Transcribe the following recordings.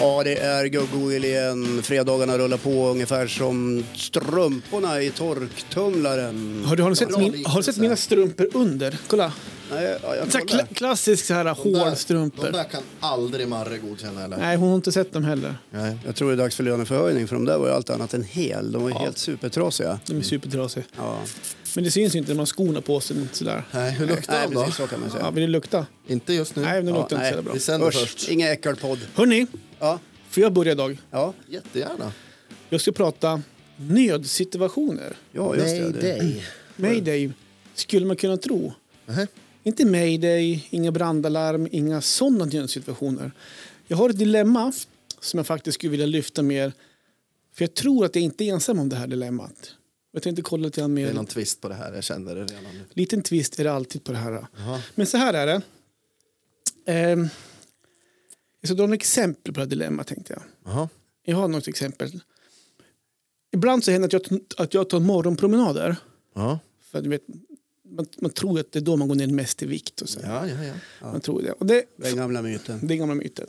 Ja, det är gubb-Google igen. Fredagarna rullar på ungefär som strumporna i torktumlaren. Har du, har du, sett, Bra min, liknelse. har du sett mina strumpor under? Kolla. Nej, ja, jag Så här, kollar. kla, klassisk så här De där- hård De strumpor. där kan aldrig Marre godkänna eller? Nej, hon har inte sett dem heller. Nej. Jag tror det är dags för löneförhöjning för de där var ju allt annat än hel. De var ju helt supertrasiga. De är supertrasiga. Ja. Men det syns ju inte när man har skorna på sig. Sådär. Nej, hur luktar Nej, de då? precis så kan man säga. Ja, vill det lukta? Inte just nu. Nej, men det Ja, luktar inte nej. så jävla Vi bra. sänder Usch, först. Ingen äckelpodd. Hörni, Ja, får jag börja idag? ja, Jättegärna. Jag ska prata nödsituationer. ja just det. det. Mayday, skulle man kunna tro. Nähä. Inte mayday, inga brandalarm, inga sådana nödsituationer. Jag har ett dilemma som jag faktiskt skulle vilja lyfta med er. För jag tror att jag inte är ensam om det här dilemmat. Jag tänkte kolla lite grann Det är med någon twist på det här, jag känner det redan. nu. Liten twist är det alltid på det här. Men så här är det. Ehm, jag ska dra några exempel på det här dilemmat tänkte jag. Jaha. Jag har något exempel. Ibland så händer det att jag, att jag tar morgonpromenader. Ja, För att, du vet, man, man tror att det är då man går ner mest i vikt. Och så. ja, ja. ja. Man tror det. Och det, Den gamla myten. det är gamla myten.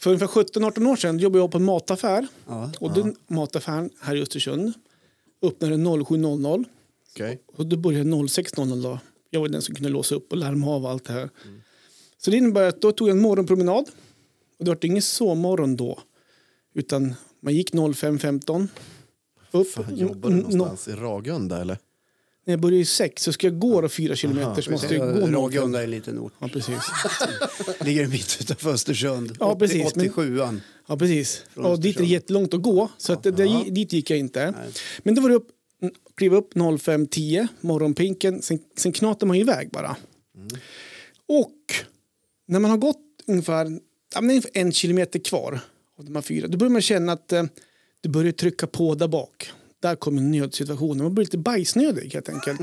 För ungefär 17-18 år sedan jobbade jag på en mataffär. Ja. Och den mataffären här i Östersund öppnade 07.00. Okej. Och då började 06.00 då. Jag var den som kunde låsa upp och larma av allt det här. Så det innebär att då tog jag en morgonpromenad. Och det var ingen sovmorgon då. Utan man gick 05.15. Upp. Fan, Jobbar du N- n- någonstans i Ragunda eller? När jag började i sex så ska jag gå då fyra kilometer så måste jag gå någon. Ragunda är en liten ort. Ja precis. Ligger en bit utanför Östersund. Ja, precis, 80, men- 87an. Ja, precis. Ja, dit är det Östersund. jättelångt att gå så att det, det, dit gick jag inte. Men då var det upp, kliva upp 05.10, morgonpinken, sen, sen knatar man ju iväg bara. Och när man har gått ungefär, ja, men ungefär en kilometer kvar av de här fyra, då börjar man känna att eh, du börjar trycka på där bak. Där kommer nödsituationen. Man blir lite bajsnödig helt enkelt.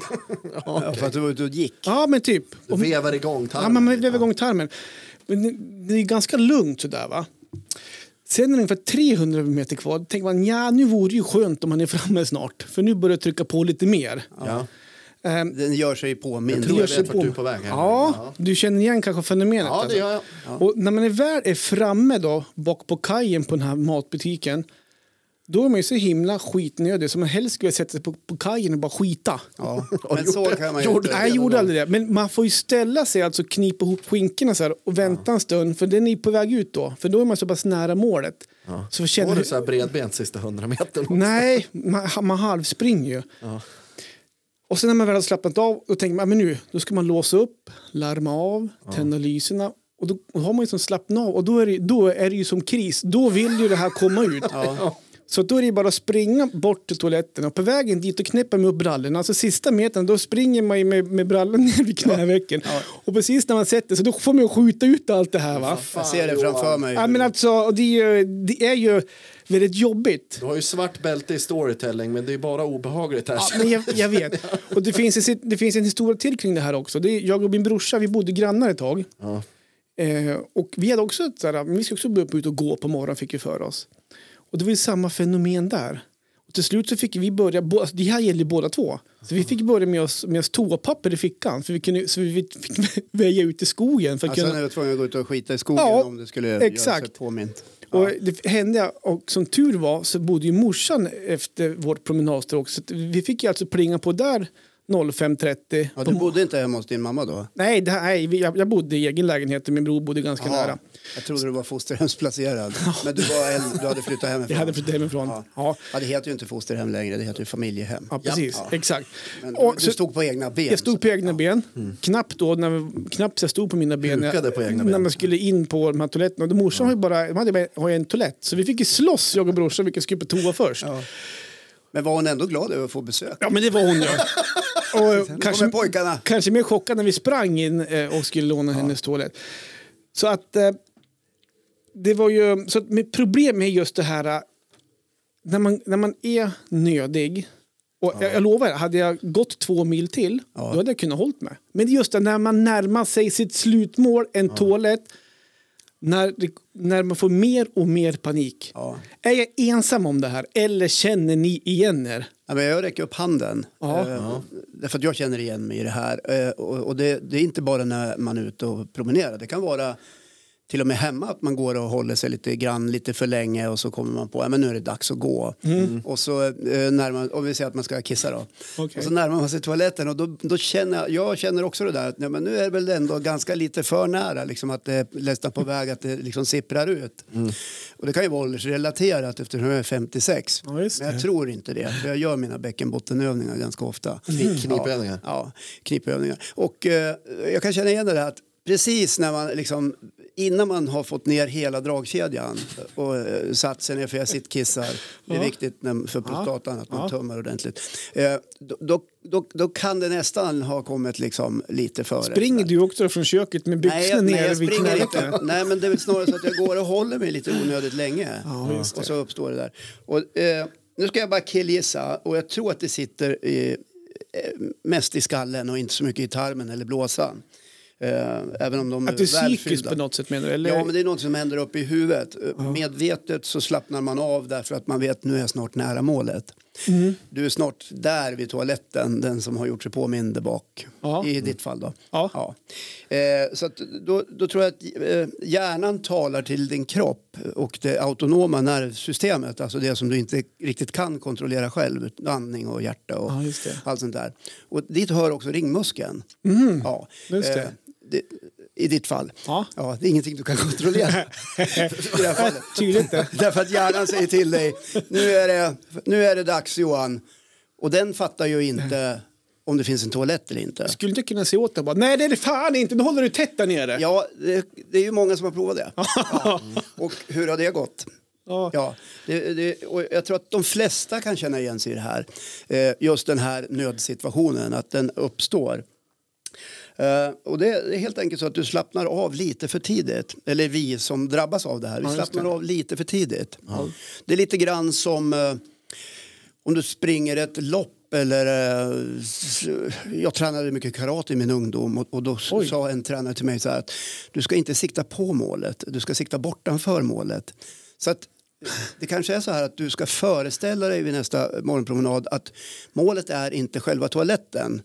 Ja, för att du var ute och gick. ja, men typ. Du Om- vevar igång tarmen. liksom. Ja, men man lite. vevar igång tarmen. Men det- det är ganska lugnt sådär va. Sen är det ungefär 300 meter kvar. Då tänker man, ja nu vore det ju skönt om man är framme snart. För nu börjar det trycka på lite mer. Ja. Ehm, Den gör sig påmind. tror det jag gör sig vet vart du är på väg här. Ja, du känner igen kanske fenomenet. Ja, det gör jag. Och när man är väl är framme då, bak på kajen på den här matbutiken. Då är man ju så himla skitnödig som man helst skulle vilja sätta sig på, på kajen och bara skita. Ja. Men så kan man ju Gjorde, inte. nej, jag gjorde aldrig det. Men man får ju ställa sig, alltså knipa ihop skinkorna så här och vänta en stund, för den är på väg ut då. För då är man så pass nära målet. Så känner Går du du så här bredbent sista hundra metern? Nej, man, man halvspringer ju. Och sen när man väl har slappnat av, då tänker man, "Ah, men nu, då ska man låsa upp, larma av, tända lyserna. Och då och har man ju som slappnat av och då är, det, då är det ju som kris. Då vill ju det här komma ut. Så då är det ju bara att springa bort till toaletten och på vägen dit och knäppa med upp brallorna. Alltså sista metern då springer man ju med, med brallorna ner vid knävecken. Och precis när man sätter sig då får man ju skjuta ut allt det här va. Jag ser det framför mig. Ja, men alltså, det, är ju, det är ju väldigt jobbigt. Du har ju svart bälte i storytelling men det är bara obehagligt här. Ja, men jag, jag vet. Och det finns, en, det finns en historia till kring det här också. Det är, jag och min brorsa, vi bodde grannar ett tag. Ja. Eh, och vi hade också, ett så här, men vi ska också börja ut och gå på morgonen fick vi för oss. Och det var ju samma fenomen där. Och till slut så fick vi börja, bo- alltså, det här gäller ju båda två. Så vi fick börja med oss, med oss toapapper i fickan. För vi kunde, så vi fick väja ut i skogen. För att Alltså, kunna, när du var tvungen att gå ut och skita i skogen Ja, om det skulle göra sig exakt. påmint. Och det hände, och som tur var så bodde ju morsan efter vårt promenadstråk. Så att vi fick ju alltså plinga på där 05.30. Ja, på du bodde inte hemma hos din mamma då? Nej, det här, nej vi- jag, jag bodde i egen lägenhet och min bror bodde ganska nära. Jag trodde du var fosterhemsplacerad. Men du, var en, du hade flyttat hemifrån. Jag hade flyttat hemifrån. Ja. Ja, Ja. det heter ju inte fosterhem längre, det heter ju familjehem. ja, precis. Ja. Exakt. Men du, Och du så- stod på egna ben. Mm. jag stod på egna ben. Knappt, då, när, knappt så jag stod på mina ben. när Hukade jag- på egna När ben. man skulle in på de här toaletterna. Och morsan har ju bara, de hade bara har ju en toalett. Så vi fick ju slåss, jag och brorsan, vilka skulle på toa först. Ja, Men var hon ändå glad över att få besök? men det var hon ja. Och eh, Nu kanske, kommer pojkarna. kanske mer chockad när vi sprang in eh, och skulle låna hennes toalett. Så att eh, det var ju, så att mitt problem är just det här eh, när man, när man är nödig. Och jag, jag lovar, hade jag gått två mil till, då hade jag kunnat hållit mig. Men det är just det när man närmar sig sitt slutmål, en toalett, när, det- när man får mer och mer panik. Ja. Är jag ensam om det här eller känner ni igen er? Ja, men jag räcker upp handen. Ja. Eh, Därför att jag känner igen mig i det här. Eh, och och det, det är inte bara när man är ute och promenerar. Det kan vara till och med hemma att man går och håller sig lite grann lite för länge och så kommer man på att men nu är det dags att gå. Och så eh, närmar, om vi säger att man ska kissa då. Mm. Okej. Och så närmar man sig toaletten och då, då känner jag, jag känner också det där att nej, men nu är det väl ändå ganska lite för nära liksom att det är nästan på väg att det liksom sipprar ut. Mm. Och det kan ju vara åldersrelaterat eftersom jag är 56. Ja, just men jag det. tror inte det för jag gör mina bäckenbottenövningar ganska ofta. Mm. Knipövningar. Ja, knipövningar. Och eh, jag kan känna igen det där att precis när man liksom innan man har fått ner hela dragkedjan och eh, satt sig ner för jag sittkissar, det är Ja. viktigt när, för prostatan att man Ja. tummar ordentligt, eh, då, då, då, då kan det nästan ha kommit liksom lite före. Springer du också från köket med Nej, byxorna jag, nej, nere jag vid springer inte. knävecken? Nej, men det är väl snarare så att jag går och håller mig lite onödigt länge. Mm. Ja, just det. och så uppstår det där. Och, eh, nu ska jag bara killgissa och jag tror att det sitter eh, eh, mest i skallen och inte så mycket i tarmen eller blåsan. Eh, även om de Att det är psykiskt välfyllda. på något sätt menar du? Eller? Ja, men det är något som händer uppe i huvudet. Eh, Medvetet så slappnar man av därför att man vet nu är jag snart nära målet. Mm. Du är snart där vid toaletten, den som har gjort sig påmind bak. Ja. I ditt fall då. Ja. Eh, så att då, då tror jag att eh, hjärnan talar till din kropp och det autonoma nervsystemet, alltså det som du inte riktigt kan kontrollera själv, andning och hjärta och Ja, just det. allt sånt där. Och dit hör också ringmuskeln. Ja. Mm. Eh, Just det. det, I ditt fall. Ja. Ja, det är ingenting du kan kontrollera. Eh, I det här fallet. Tydligt det. Därför att hjärnan säger till dig, nu är, det, nu är det dags Johan. Och den fattar ju inte om det finns en toalett eller inte. Skulle inte kunna se åt det bara, nej det är det fan inte, nu håller du tätt där nere. Ja, det, det är ju många som har provat det. Ja. Och hur har det gått? Ja. Ja, det, det, och jag tror att de flesta kan känna igen sig i det här. Eh, just den här nödsituationen, att den uppstår. Eh, och det är helt enkelt så att du slappnar av lite för tidigt. Eller vi som drabbas av det här, vi Ja, just slappnar det. av lite för tidigt. Det är lite grann som eh, om du springer ett lopp eller eh, s- jag tränade mycket karate i min ungdom och, och då s- Oj. sa en tränare till mig så här att du ska inte sikta på målet, du ska sikta bortanför målet. Så att det kanske är så här att du ska föreställa dig vid nästa morgonpromenad att målet är inte själva toaletten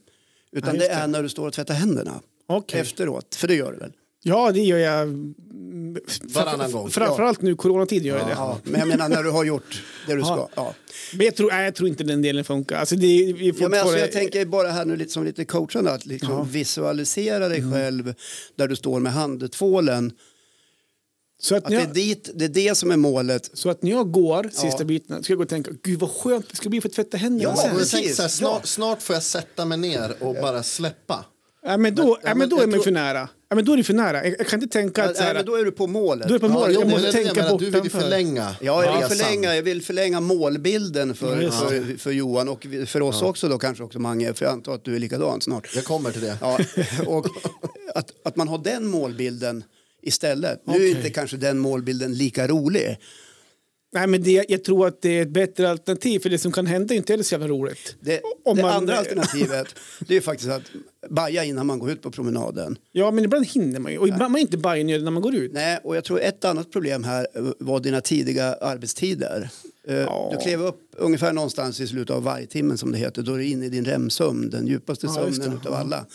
utan Ja, det just är när du står och tvättar händerna Okej. efteråt, för det gör du väl? Ja, det gör jag. mm, Varannan gång. Framförallt nu coronatid gör jag det. Ja, men jag menar när du har gjort det du Ja. ska. Ja. Men jag tror, nej, jag tror inte den delen funkar. Alltså, det Ja, är, vi men alltså, fortfarande- jag tänker bara här nu lite som lite coachande att liksom visualisera dig Mm. själv där du står med handtvålen. så, att Att när det, är jag, dit, det är det som är målet. så att när jag går sista Ja. biten ska jag gå och tänka, gud vad skönt det ska bli för att tvätta händerna Ja, sen. Och jag precis. tänkte så Ja. här, snart, snart får jag sätta mig ner och bara släppa. Ja, men då, ja, men då jag är man tror- för nära. Ja, men då är det för nära. Jag, jag kan inte tänka Ja, att så nej, här, men då är du på målet. då är det på Ja, målet, jo, jag det måste är det tänka jag menar, Du vill ju bortanför. förlänga Ja, jag vill, resan. förlänga, jag vill förlänga målbilden för, Ja, just för, för Johan och vi- för oss också då kanske också Mange, för jag antar att du är likadan snart. Jag kommer till det. Ja, och att, att man har den målbilden istället. Nu är Okej. inte kanske den målbilden lika rolig. Nej, men det, jag tror att det är ett bättre alternativ, för det som kan hända är inte heller så jävla roligt. Det, Om det man- andra alternativet det är ju faktiskt att baja innan man går ut på promenaden. Ja, men ibland hinner man ju. Och ibland man är inte bajnödig när man går ut. Nej, och jag tror ett annat problem här eh, var dina tidiga arbetstider. Eh, Ja. Du klev upp ungefär någonstans i slutet av vargtimmen som det heter. Då är du inne i din REM-sömn, den djupaste Ja, just det. Mm. sömnen utav alla.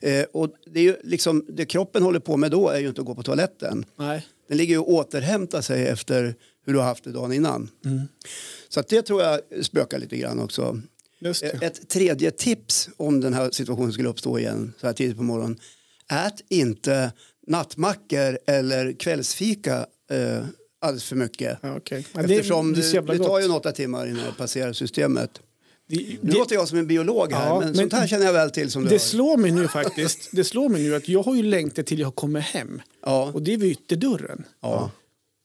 Eh, Och det, är ju liksom, det kroppen håller på med då är ju inte att gå på toaletten. Nej. Den ligger ju och återhämtar sig efter hur du har haft det dagen innan. Mm. Så att det tror jag spökar lite grann också. Just det. Ett tredje tips om den här situationen skulle uppstå igen så här tidigt på morgonen. Ät inte nattmackor eller kvällsfika eh, alldeles för mycket. Ja, okej. Ja, det- Eftersom det är så det, jävla det tar ju gott. en åtta timmar innan det passerar systemet. Det, Nu det, låter jag som en biolog här, Ja, men, men- sånt här känner jag väl till som du det hör. slår mig nu faktiskt. Det slår mig nu att jag har ju längtat till jag kommer hem. Ja. Och det är vid yterdörren. Ja.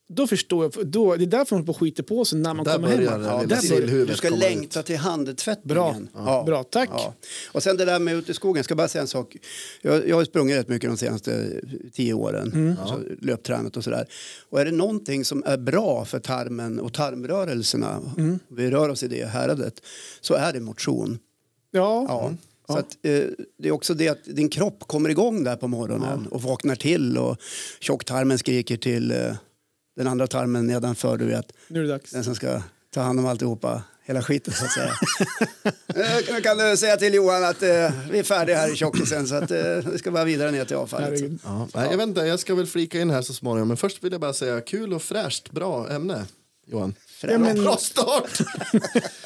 Då förstår jag. för Då, det är därför man på skiter på sig när man Där kommer hem. börjar det. Ja, Ja, lilla precis. sillhuvudet du ska kommer längta till Bra. handtvättningen. Ja. Bra, tack. Och sen det där med ute i skogen, jag ska bara säga en sak. Jag, jag har ju sprungit rätt mycket de senaste tio åren, Mm. alltså, löptränat och sådär. Och är det någonting som är bra för tarmen och tarmrörelserna, Mm. vi rör oss i det häradet, så är det motion. Ja. Ja. Så att, eh, det är också det att din kropp kommer igång där på morgonen och vaknar till och tjocktarmen skriker till eh, den andra tarmen nedanför du vet, nu är det dags. den som ska ta hand om alltihopa. hela skiten så att säga. Eh, Nu kan du säga till Johan att eh, vi är färdiga här i tjockisen så att eh, vi ska bara vidare ner till avfallet. Herregud. Ja, nej, jag, vet inte, jag ska väl flika in här så småningom, men först vill jag bara säga kul och fräscht, bra ämne. Johan. Ja, men, Bra start!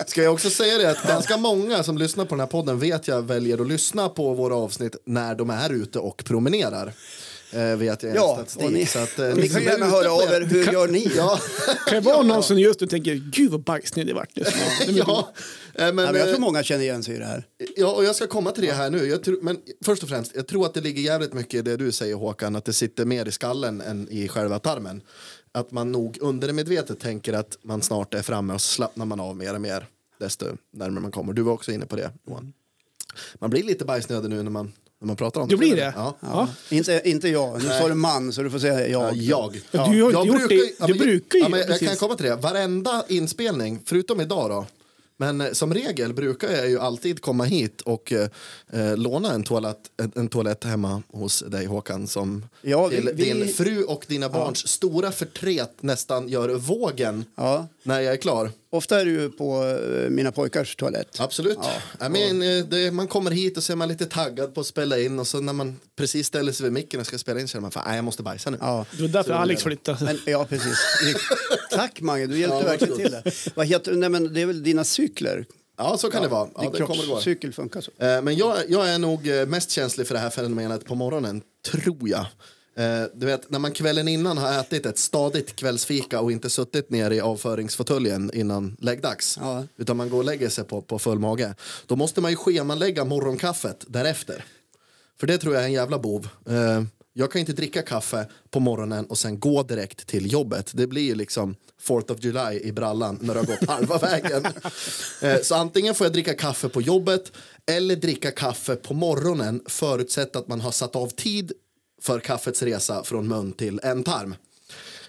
Ska jag också säga det att ganska många som lyssnar på den här podden vet jag väljer att lyssna på våra avsnitt när de är ute och promenerar. Eh, vet jag Ja, enligt och ni, statistik. Så att, eh, och ni ni som kan är gärna ute höra på av er, det- hur gör ni? Ja, kan det vara någon som gör just och tänker gud vad bajsnödig det vart just nu. ja. Eh, Ja, Men, men jag eh, tror många känner igen sig i det här. Ja, och jag ska komma till det här nu. Jag tror, men först och främst, jag tror att det ligger jävligt mycket i det du säger Håkan, att det sitter mer i skallen än i själva tarmen. Att man nog undermedvetet tänker att man snart är framme och så slappnar man av mer och mer desto närmare man kommer. Du var också inne på det Johan. Man blir lite bajsnödig nu när man, när man pratar om det. Du blir det? Ja. Ja. Inte, inte jag, nu sa du man så du får säga Ja, jag. jag. Ja, du har jag inte gjort det. ja, Du men- brukar ju, Ja, men jag, jag kan precis. komma till det. Varenda inspelning, förutom idag då. Men eh, som regel brukar jag ju alltid komma hit och eh, eh, låna en toalett, en, en toalett hemma hos dig Håkan som Ja, vi- till vi- din fru och dina barns stora förtret nästan gör vågen Ja. när jag är klar. Ofta är det ju på eh, mina pojkars toalett. Absolut. I mean, eh, det, man kommer hit och så är man lite taggad på att spela in och så när man precis ställer sig vid micken och ska spela in så känner man fan, nej, jag måste bajsa nu. Ja. Det var därför Alex flyttade. Men, ja, precis. Tack, Mange. Du hjälpte Ja, verkligen till. varsågod. Där. Vad heter, nej, men det är väl dina cykler? Ja, så kan det vara. Ja, Din det kommer att gå. kroppscykel funkar så. Eh, Men jag, jag är nog eh, mest känslig för det här fenomenet på morgonen, tror jag. Eh, Du vet, när man kvällen innan har ätit ett stadigt kvällsfika och inte suttit ner i avföringsfåtöljen innan läggdags, Ja. utan man går och lägger sig på, på full mage, då måste man ju schemalägga morgonkaffet därefter. För det tror jag är en jävla bov. Eh, Jag kan inte dricka kaffe på morgonen och sen gå direkt till jobbet. Det blir ju liksom 4th of July i brallan när det har gått halva vägen. Eh, Så antingen får jag dricka kaffe på jobbet eller dricka kaffe på morgonen förutsatt att man har satt av tid för kaffets resa från mun till ändtarm.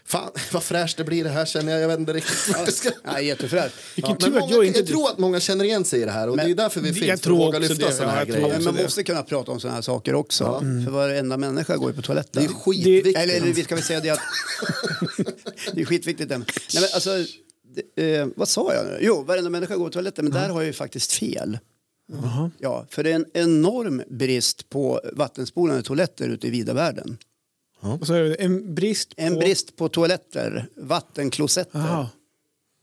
Fan, vad fräscht det blir det här känner jag. Jag vet inte riktigt. vad jag ska- Ja, jättefräscht. Vilken men tur att många, jag inte... jag tror att många känner igen sig i det här och det är därför vi jag finns för att tror våga också lyfta det, sådana ja, jag här tror grejer. Ja, men man det. måste kunna prata om sådana här saker också. Mm. För varenda människa går ju på Det toaletten. är skitviktigt. Eller vi ska väl säga det att... det är skitviktigt. Det. Nej, men alltså, det, eh, vad sa jag nu? Jo, varenda människa går på toaletten, men där har jag ju faktiskt fel. Ja, för det är en enorm brist på vattenspolande toaletter ute i vida världen. Och så är det en brist på... En brist på toaletter, vattenklosetter. Aha.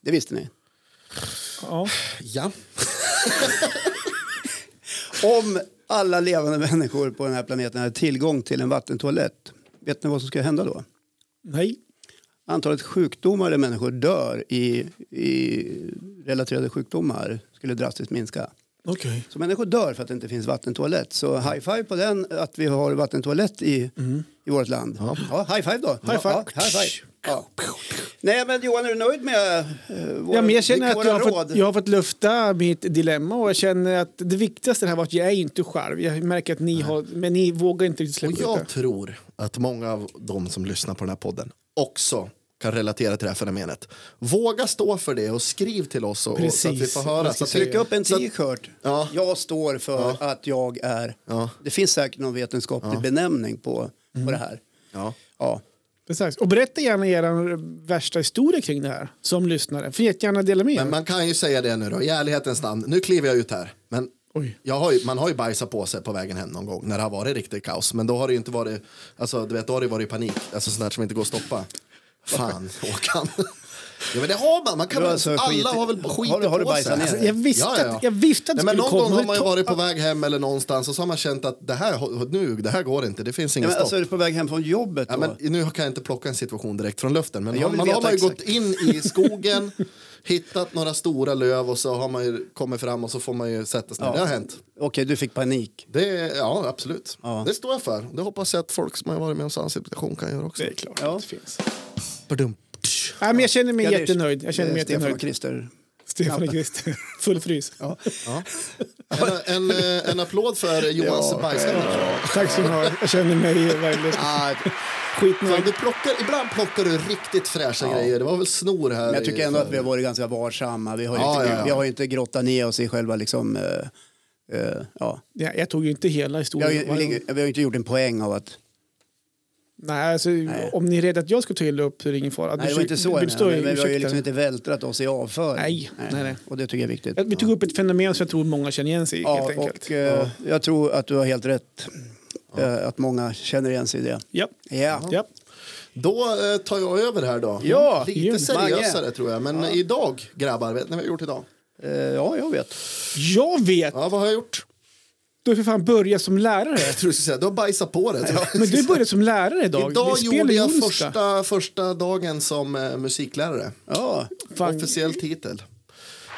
Det visste ni. Ja. Ja. Om alla levande människor på den här planeten hade tillgång till en vattentoalett, vet ni vad som skulle hända då? Nej. Antalet sjukdomar där människor dör i, i relaterade sjukdomar skulle drastiskt minska. Okej. Så människor dör för att det inte finns vattentoalett. Så high five på den, att vi har vattentoalett i, Mm. i vårt land. Ja. high five då. High five. Ja, high five. Ja. Nej, men Johan, är du nöjd med eh, vår, Ja, men jag känner att våra jag har, råd? fått, jag har fått lufta mitt dilemma och jag känner att det viktigaste här var att jag är inte själv. Jag märker att ni har, men ni vågar inte riktigt släppa Och ut jag det. tror att många av de som lyssnar på den här podden också kan relatera till det här fenomenet. Våga stå för det och skriv till oss och, och, så att vi Precis. får höra. Jag Så ska att vi, alltså, Tryck upp en så att- t-shirt. Ja. Jag står för att jag är... Ja. Det finns säkert någon vetenskaplig benämning på, Mm. på det här. Ja. Ja. Precis. Och berätta gärna er värsta historia kring det här som lyssnare. Får jättegärna dela med er. Men man kan ju säga det nu då, i ärlighetens namn. Nu kliver jag ut här. Men Oj. jag har ju, man har ju bajsat på sig på vägen hem någon gång när det har varit riktigt kaos. Men då har det ju inte varit, alltså du vet, då har det varit panik. Alltså sånt där som inte går att stoppa. Fan, Håkan. Ja, men det har man. man Du har kan, väl- alltså alla skitit- har väl skit har du- har du på sig. Alltså, bajsat ner dig? Jag visste att- jag visste att det Nej, men skulle Någon gång komma. har man ju Det to- varit på väg hem eller någonstans och så har man känt att det här, nu, det här går inte, det finns Ja, ingen men, stopp. alltså, är du på väg hem från jobbet då? Ja, men nu kan jag inte plocka en situation direkt från luften. Men Jag har- vill man veta har man ju exakt. gått in i skogen, hittat några stora löv och så har man ju kommit fram och så får man ju sätta sig ner. Det har hänt. Okej, du fick panik. Det, är- ja, absolut. Ja. Det står jag för. Det hoppas jag att folk som har varit med om samma situation kan göra också. Det är klart Ja. att det finns. Badum. Nej, men jag känner mig Ja, det är- jättenöjd. Jag känner mig det är Stefan och jättenöjd. Christer. Stefan och Christer. Full frys. Ja. En, en, eh, en applåd för Johans ja. bajsnödig. Tack så mycket. Jag känner mig väldigt Ah, skitnöjd. Du plockar, ibland plockar du riktigt fräscha grejer. Det var väl snor här. men jag tycker i- ändå att vi har varit ganska varsamma. Vi har ju Ja, inte, ja, ja. Vi har ju inte grottat ner oss i själva liksom... eh, eh, ja. Ja, jag tog ju inte hela jag, historien. vi, vi har ju inte gjort en poäng av att Nej, alltså, om ni är rädda att jag ska ta illa upp så är det ingen fara. Nej, det var inte så. Bill jag Story, menade, men vi har ju ursäkta. liksom inte vältrat oss i avföring. Nej, nej, nej. Och det tycker jag är viktigt. Vi tog upp ett fenomen som jag tror många känner igen sig i. Ja, helt enkelt. och eh, jag tror att du har helt rätt. Eh, Att många känner igen sig i det. Ja. Ja. Ja. Då eh, tar jag över här då. Ja, Lite Jim. seriösare Mange. tror jag. Men eh, idag, grabbar, vet ni vad jag har gjort idag? Eh, ja, jag vet. Jag vet! Ja, vad har jag gjort? Du har för fan börjat som lärare. Jag tror du skulle säga, du har bajsat på det. Men du började som lärare idag. Idag Vi spelar gjorde ju jag onsdag. första, första dagen som eh, musiklärare. Ja. Fan. Officiell titel.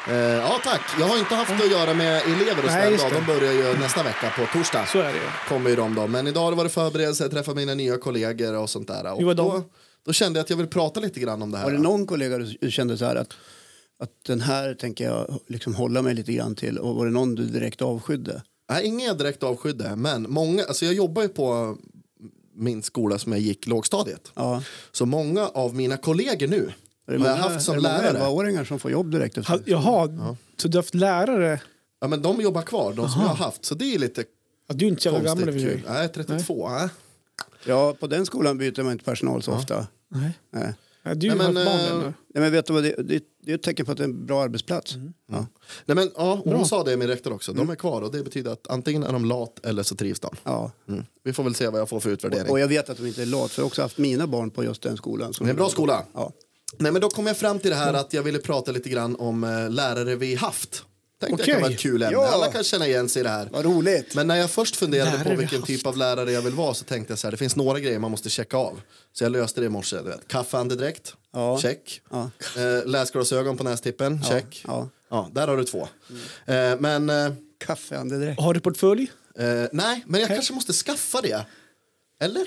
Eh, ja, tack. Jag har inte haft att göra med elever och Nej, sådär just idag. De börjar ju nästa vecka på torsdag. Så är det ju. Kommer ju de då. Men idag har det varit förberedelser, träffat mina nya kollegor och sånt där. Och Hur var de? då, då kände jag att jag vill prata lite grann om det här. Var det någon kollega du kände så här att, att den här tänker jag liksom hålla mig lite grann till och var det någon du direkt avskydde? Nej, ingen jag direkt avskydde, men många, alltså jag jobbar ju på min skola som jag gick lågstadiet. Ja. Så många av mina kollegor nu Är det har jag många- haft som är det många lärare. 11-åringar som får jobb direkt Ha- efter? Jaha, så du har haft lärare? Ja, men de jobbar kvar, de som jag har haft. Så det är lite Ja, du är inte så jävla gammal konstigt. överhuvudtaget. kul. Nej, 32. Nej. Ja, på den skolan byter man inte personal så ofta. Nej. Nej. Ja, du har Nej, haft men, eh, barn ännu. Nej, men vet du vad, det, det, det är ett tecken på att det är en bra arbetsplats. Mm. Ja. Mm. Nej, men ja, och hon sa det, min rektor också. De är kvar och det betyder att antingen är de lat eller så trivs de. Ja. Mm. Vi får väl se vad jag får för utvärdering. Och jag vet att de inte är lat, för jag har också haft mina barn på just den skolan. Det är en bra skola. Ja. Nej, men då kom jag fram till det här att jag ville prata lite grann om eh, lärare vi haft. Tänkte Okej. jag kan vara ett kul ämne. Ja. Alla kan känna igen sig i det här. Vad roligt! Men när jag först funderade Lärare på vi vilken haft. typ av lärare jag vill vara så tänkte jag så här, det finns några grejer man måste checka av. Så jag löste det i morse. Du vet. Kaffeandedräkt, Ja. check. Ja. Eh, läsglasögon på nästippen, check. ja. Ja, där har du två. Eh, men, eh, Kaffeandedräkt. Har du portfölj? eh, nej, men jag kanske måste skaffa det. Eller?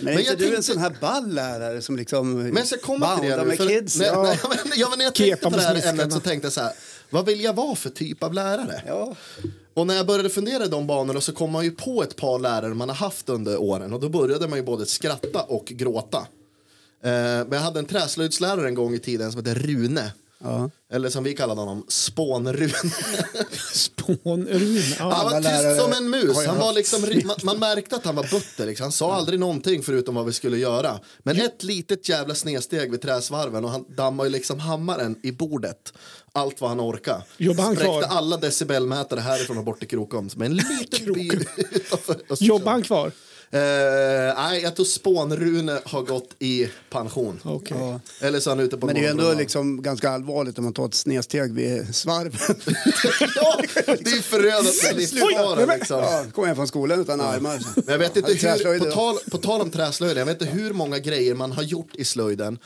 Men är inte jag du en tänkte- sån här ball lärare som liksom Men jag ska komma till det bandar nu. med för- kids? nej, ja. nej, men, ja, men när jag Kepa tänkte på på det här sniskarna. ämnet så tänkte jag så här, vad vill jag vara för typ av lärare? Ja. Och när jag började fundera i de banorna så kom man ju på ett par lärare man har haft under åren och då började man ju både skratta och gråta. Eh, men jag hade en träslöjdslärare en gång i tiden som hette Rune. Ja. Eller som vi kallade honom, Spån-Rune. Spånrun? Han Ja. Alla var lärare tyst som en har mus. jag Han var haft liksom, ri- man, man märkte att han var butter. Liksom. Han sa aldrig någonting förutom vad vi skulle göra. Men ett litet jävla snedsteg vid träsvarven och han dammade ju liksom hammaren i bordet. Allt vad han orkade. Jobbar han Spräckte kvar? alla decibelmätare härifrån och bort till Krokom. Som en liten by utanför Östersund. Jobbar han kvar? Eh, nej, jag tror Spånrune har gått i pension. Okej. Ja. Eller så är han ute på Men det är ju ändå morgonbrunnan. liksom ganska allvarligt om man tar ett snedsteg vid Liksom. svarven. ja, det är ju förödande. Det Oj, är nej, livsfara men- liksom. Ja, kom hem från skolan utan armar. Men jag vet inte Ja, hur, träslöjd på, då. tal, på tal om träslöjden, jag vet inte hur många grejer man har gjort i slöjden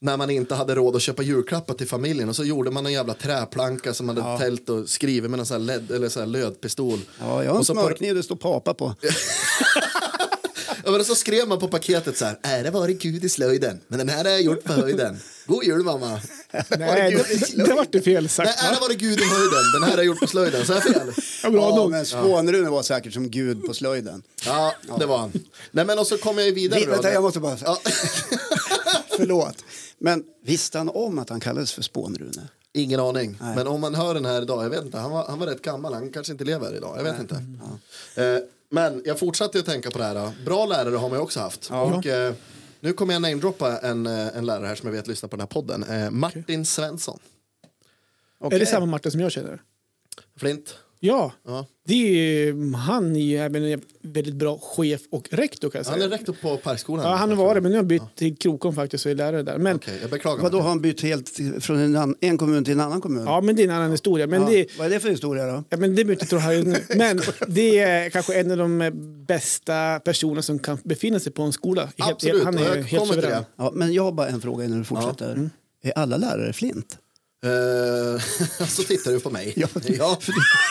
när man inte hade råd att köpa julklappar till familjen och så gjorde man en jävla träplanka som man hade tält och skrivit med en sån här, LED, eller sån här lödpistol. Ja, jag har en och så på, smörkniv det står papa på. ja, men så skrev man på paketet så här, ära vare Gud i slöjden, men den här har jag gjort på höjden. God jul mamma! Nej, Gud, det, det, det vart det fel Nej, sagt. ära vare Gud i höjden, den här har jag gjort på slöjden. Så här fel. Ja, bra ja, nog. men Skånerune var säkert som gud på slöjden. Ja, det var han. Nej men och så kom jag ju vidare. Vi, då. vänta, jag måste bara... Ja. Förlåt. Men visste han om att han kallades för Spånrune? Ingen aning. Men om man hör den här idag, jag vet inte, han var, han var rätt gammal, han kanske inte lever idag, jag vet inte. Mm. Eh, men jag fortsatte att tänka på det här. då. Bra lärare har man ju också haft. Och, eh, nu kommer jag namedroppa en, eh, en lärare här som jag vet lyssnar på den här podden. Eh, Martin Svensson. Är det samma Martin som jag känner? Flint. Ja. Ja. Det är, han är ju även en väldigt bra chef och rektor kan jag Han säga. är rektor på Parkskolan. Ja, han har varit, men nu har han bytt till Krokom faktiskt och är lärare där. Men, Okej, jag beklagar. Vadå, Martin. har han bytt helt till- från en, annan, en kommun till en annan kommun? Ja, men det är en annan historia. Men Ja. det, Vad är det för historia då? ja, men det behöver jag inte tro här nu. Men det är kanske en av de eh, bästa personerna som kan befinna sig på en skola. Helt- Absolut, han och är jag helt kommer till suverän. Ja, men jag har bara en fråga innan du fortsätter. Mm. Är alla lärare flint? Eh, så tittar du på mig. Ja.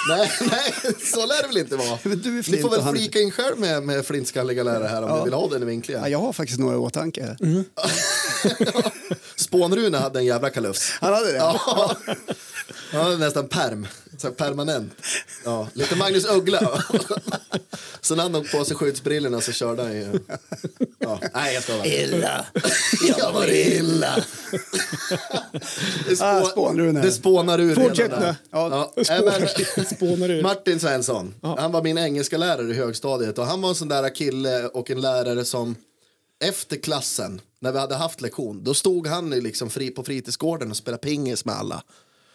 Nej, nej, så lär det väl inte vara. Men du är Ni flint får väl och han- flika in själv med, med flintskalliga lärare här om ni vill ha den vinklingen. Ja, jag har faktiskt några i åtanke. Mm. Spånrune hade en jävla kalufs. Han hade det? Ja. Han hade nästan perm. Så här permanent. Ja. Lite Magnus Uggla. Sen hade han på sig skyddsbrillorna så körde han ju. Ja. Nej, jag Eh, skojar. Illa. Jag var illa. Det, spå... Ah, Spånrune. det spånar ur Fortsätt redan där. nu. Ja. Spånar- nej, spånar ur. Martin Svensson, han var min engelska lärare i högstadiet och han var en sån där kille och en lärare som efter klassen, när vi hade haft lektion, då stod han i liksom fri, på fritidsgården och spelade pingis med alla.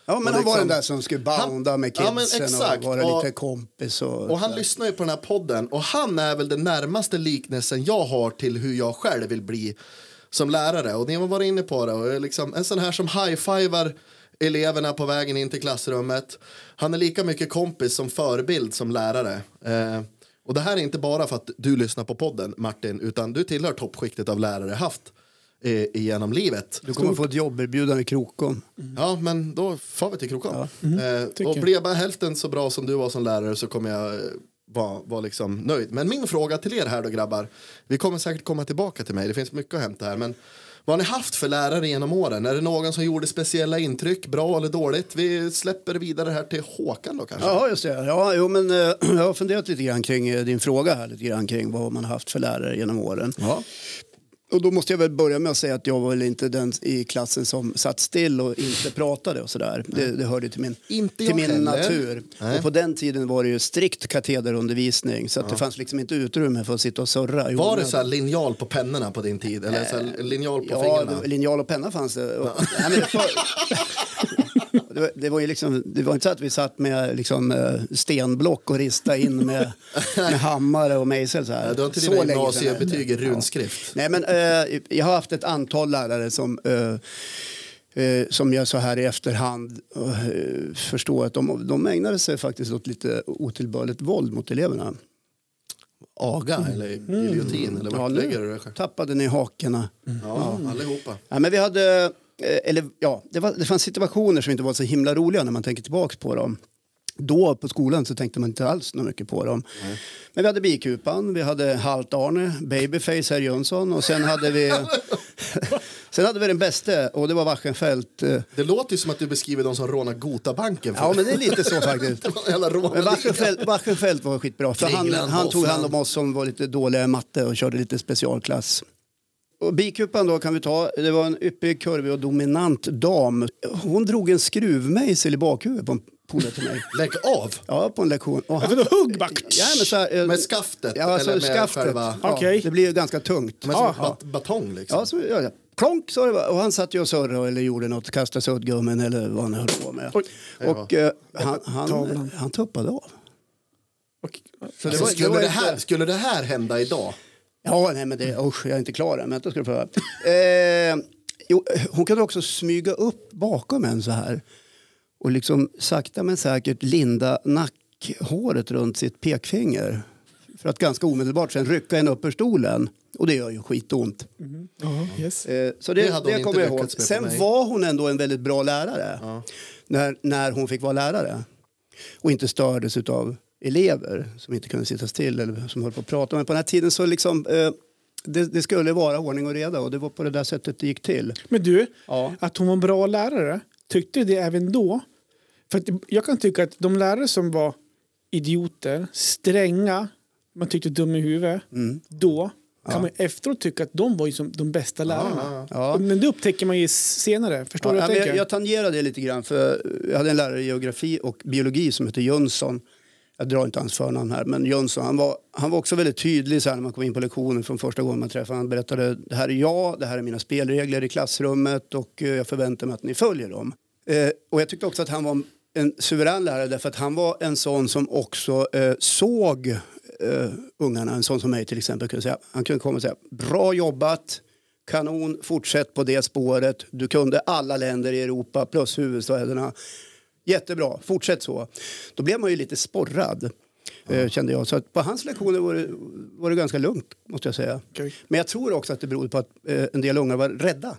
Ja, men Och han var liksom- den där som skulle bounda Han- med Ja, men kidsen och exakt. vara Och- lite kompis. Och, Och han sådär. lyssnar ju på den här podden och han är väl den närmaste liknelsen jag har till hur jag själv vill bli som lärare. Och ni har varit inne på det. Och jag är liksom, en sån här som high-fivar eleverna på vägen in till klassrummet. Han är lika mycket kompis som förebild som lärare. Eh, och det här är inte bara för att du lyssnar på podden Martin, utan du tillhör toppskiktet av lärare jag haft eh, genom livet. Du kommer få ett jobberbjudande i Krokom. Ja, men då far vi till Krokom. Mm-hmm. eh, och jag. blir jag bara hälften så bra som du var som lärare så kommer jag eh, vara vara liksom nöjd. Men min fråga till er här då grabbar. Vi kommer säkert komma tillbaka till mig. Det finns mycket att hämta här. Men vad har ni haft för lärare genom åren? Är det någon som gjorde speciella intryck? Bra eller dåligt? Vi släpper vidare här till Håkan då kanske. Ja, just det. Ja, jo, men, eh, jag har funderat lite grann kring eh, din fråga här, lite grann kring vad man har haft för lärare genom åren. Ja. Och då måste jag väl börja med att säga att jag var väl inte den i klassen som satt still och inte pratade och sådär. Det, det hörde till min, Inte till jag min heller. natur. Nej. Och på den tiden var det ju strikt katederundervisning så att det fanns liksom inte utrymme för att sitta och surra. i Var det onödan. så här linjal på pennorna på din tid? Eller så här linjal på Eh, Ja, fingrarna? det- linjal och penna fanns det. Och, nej, men för, det, var, det var ju liksom, det var inte så att vi satt med liksom, eh, stenblock och ristade in med, med hammare och mejsel. Så här. Du har inte så dina länge sedan är det. gymnasiebetyg i runskrift? Nej, men eh, jag har haft ett antal lärare som eh, eh, som jag så här i efterhand eh, förstår att de, de ägnade sig faktiskt åt lite otillbörligt våld mot eleverna. Aga eller giljotin? Mm. Ja, Eller Mm. vart nu lägger du det? tappade ni hakorna. Ja, allihopa. Ja, men vi hade, eh, eller ja, det, var, det fanns situationer som inte var så himla roliga när man tänker tillbaka på dem. Då på skolan så tänkte man inte alls något mycket på dem. Men vi hade Bikupan, vi hade Halt-Arne, Babyface, Herr Jönsson och sen hade vi, sen hade vi den bäste och det var Wachenfeldt. eh. Det låter ju som att du beskriver de som rånar Gotabanken. Ja men det är lite så faktiskt. Det var en jävla Men rånarliga. Wachenfeldt, Wachenfeldt var skitbra för han, Kringland, han tog Hoffman. hand om oss som var lite dåliga i matte och körde lite specialklass. Och bikupan då kan vi ta, det var en yppig, kurvig och dominant dam. Hon drog en skruvmejsel i bakhuvudet på en polare till mig. Lägg av! Ja, på en lektion. Och För han, då hugg bara. ja, men så här, eh, Med skaftet? ja, alltså, eller med skaftet. själva... Ja, Okej. Det blir ju ganska tungt. Men som en bat- batong liksom? Ja, så, ja, ja. Plonk sa det bara. och han satt ju och surrade eller gjorde något, kastade suddgummin eller vad han höll på med. Oj. Och eh, han, han, han tuppade av. Och- Så det Alltså, var, det skulle, var det inte- här, skulle det här hända idag? Ja, nej men det, usch, jag är inte klar än. Vänta ska du få höra. Eh, jo, hon kunde också smyga upp bakom en så här och liksom sakta men säkert linda nackhåret runt sitt pekfinger för att ganska omedelbart sen rycka en upp ur stolen. Och det gör ju skitont. Ja, yes. Eh, så det, Det det, hade hon inte kommer jag ihåg. lyckats med på Sen mig. var hon ändå en väldigt bra lärare när, när hon fick vara lärare och inte stördes av elever som inte kunde sitta still eller som höll på att prata. Men på den här tiden så liksom, eh, det, det skulle vara ordning och reda och det var på det där sättet det gick till. Men du, Ja. att hon var en bra lärare, tyckte du det även då? För att jag kan tycka att de lärare som var idioter, stränga, man tyckte dum i huvudet, Mm. då kan man efteråt tycka att de var ju som de bästa lärarna. ja. Men det upptäcker man ju senare. Förstår Ja, du vad men jag jag, tänker? jag tangerade det lite grann för jag hade en lärare i geografi och biologi som hette Jönsson. Jag drar inte hans förnamn här, men Jönsson. Han var, han var också väldigt tydlig så här, när man kom in på lektionen från första gången man träffade Han berättade det här är jag, det här är mina spelregler i klassrummet och eh, jag förväntar mig att ni följer dem. Eh, och jag tyckte också att han var en- en suverän lärare därför att han var en sån som också eh, såg eh, ungarna, en sån som mig till exempel. Kunde säga, han kunde komma och säga bra jobbat, Kanon, fortsätt på det spåret. Du kunde alla länder i Europa plus huvudstäderna. Jättebra, fortsätt så. Då blev man ju lite sporrad. eh, Kände jag. Så att på hans lektioner var det, var det ganska lugnt, måste jag säga. Okej. Men jag tror också att det berodde på att eh, en del unga var rädda.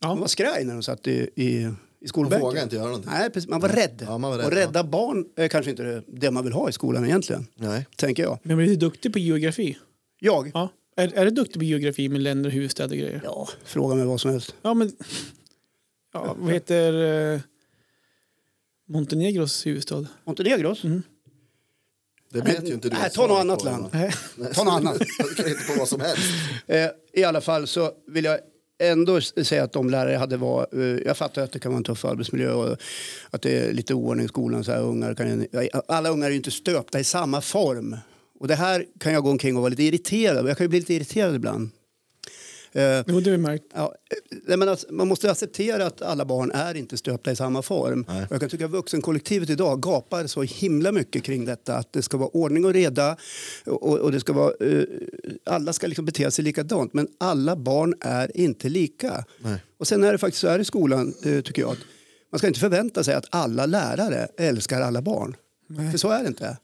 Ja. De var skraj när de satt i, i, i Man skolbänken. vågar inte göra någonting. Nej, precis. Man var rädd. Ja, man var rädd, Och rädda barn är kanske inte det- det man vill ha i skolan egentligen, Nej. tänker jag. Men blir du duktig på geografi? Jag? Ja. Är, är du duktig på geografi med länder, huvudstäder och grejer? Ja, fråga mig vad som helst. Ja, men... Ja, vad heter eh, Montenegros huvudstad? Montenegros? Det vet ju inte du. Nej, vad ta något svaret annat land. på, Johan. Nej. Nej, Ta något annat. Jag kan inte på vad som helst. Eh, I alla fall så vill jag ändå s- säga att de lärare jag hade var... Eh, jag fattar att det kan vara en tuff arbetsmiljö och att det är lite oordning i skolan. Så här, ungar kan, alla ungar är ju inte stöpta i samma form. Och det här kan jag gå omkring och vara lite irriterad över. Jag kan ju bli lite irriterad ibland Eh, Jo, det har vi märkt. Ja, eh, nej, men alltså, man måste acceptera att alla barn är inte stöpta i samma form. Och jag kan tycka att vuxenkollektivet idag gapar så himla mycket kring detta. Att det ska vara ordning och reda och, och- och det ska vara, eh, alla ska liksom bete sig likadant. Men alla barn är inte lika. Och sen är det faktiskt så här i skolan, eh, tycker jag. Att man ska inte förvänta sig att alla lärare älskar alla barn. För så är det inte.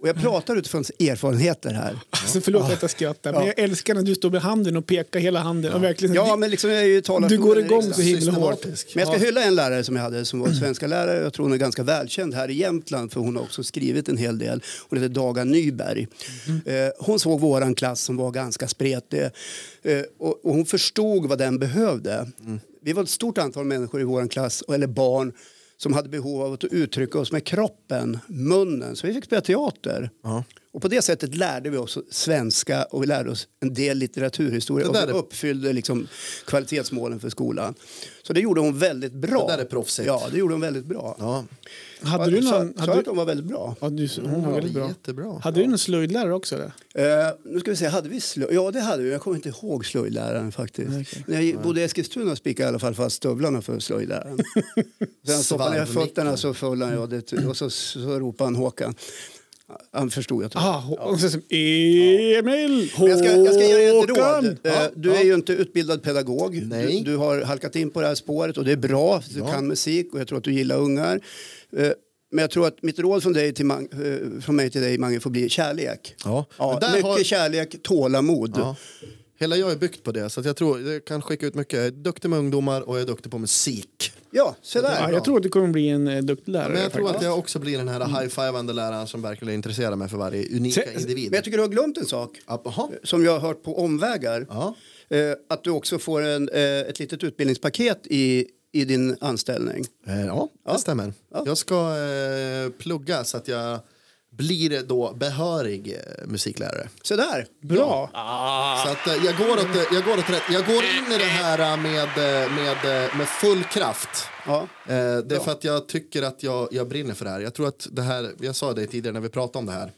Och jag pratar utifrån erfarenheter här. Alltså, förlåt att jag skrattar, men jag älskar när du står med handen och pekar hela handen. Och verkligen, Ja, men liksom jag är ju i du talarstolen går i igång riksdagen. så himla hårt. liksom Systematisk. Men jag ska hylla en lärare som jag hade som var svenska lärare. Jag tror hon är ganska välkänd här i Jämtland för hon har också skrivit en hel del. Hon heter Daga Nyberg. Mhm. Eh, hon såg våran klass som var ganska spretig eh, och, och hon förstod vad den behövde. Mm. Vi var ett stort antal människor i våran klass, eller barn, som hade behov av att uttrycka oss med kroppen, munnen. Så vi fick spela teater. Och på det sättet lärde vi oss svenska och vi lärde oss en del litteraturhistoria Det där och är- uppfyllde liksom kvalitetsmålen för skolan. Så det gjorde hon väldigt bra. Det där är proffsigt. Ja, det gjorde hon väldigt bra. Ja, Hade du Sa- någon... Sa jag Hade att du, hon var väldigt bra? ja, du, hon var väldigt bra. jättebra. Hade du någon slöjdlärare också? Eller? Eh, nu ska vi se, hade vi slöjd? Ja, det hade vi. Jag kommer inte ihåg slöjdläraren faktiskt. När jag bodde i Eskilstuna spikade jag i alla fall fast stövlarna för slöjdläraren. Sen stoppade jag Svarvmicken. fötterna så föll han, ja, det, och så, så ropade han Håkan. Han förstod jag tror jag. Ah, hon- hon säger som Emil! Men Jag ska, jag ska ge dig ett råd. Håkan! Eh, Du är ju inte utbildad pedagog. Du, Nej. du har halkat in på det här spåret och det är bra. för Du kan musik och jag tror att du gillar ungar. Eh, Men jag tror att mitt råd från, dig till Mang- eh, från mig till dig, Mange, får bli kärlek. Ja. Ja, Men där mycket har- kärlek, tålamod. Ja. Hela jag är byggt på det, så att jag tror jag kan skicka ut mycket. Jag är duktig med ungdomar och jag är duktig på musik. Ja, så där. Ja, jag tror att du kommer bli en eh, duktig lärare. Men jag tror faktiskt. att jag också blir den här high-fivande läraren som verkligen intresserar mig för varje unika Se- Men jag individ. tycker du har glömt en sak Jaha. som jag har hört på omvägar. Ja. Eh, Att du också får en, eh, ett litet utbildningspaket i, i din anställning. Eh, Ja, det stämmer. Jag ska eh, plugga så att jag blir då behörig eh, musiklärare. Så där. Bra! Så att eh, jag går, åt, jag, går åt rätt. jag går in i det här eh, med, eh, med, eh, med full kraft. Ja. Eh, det är för att jag tycker att jag, jag brinner för det här. Jag tror att det här, jag sa det tidigare när vi pratade om det här,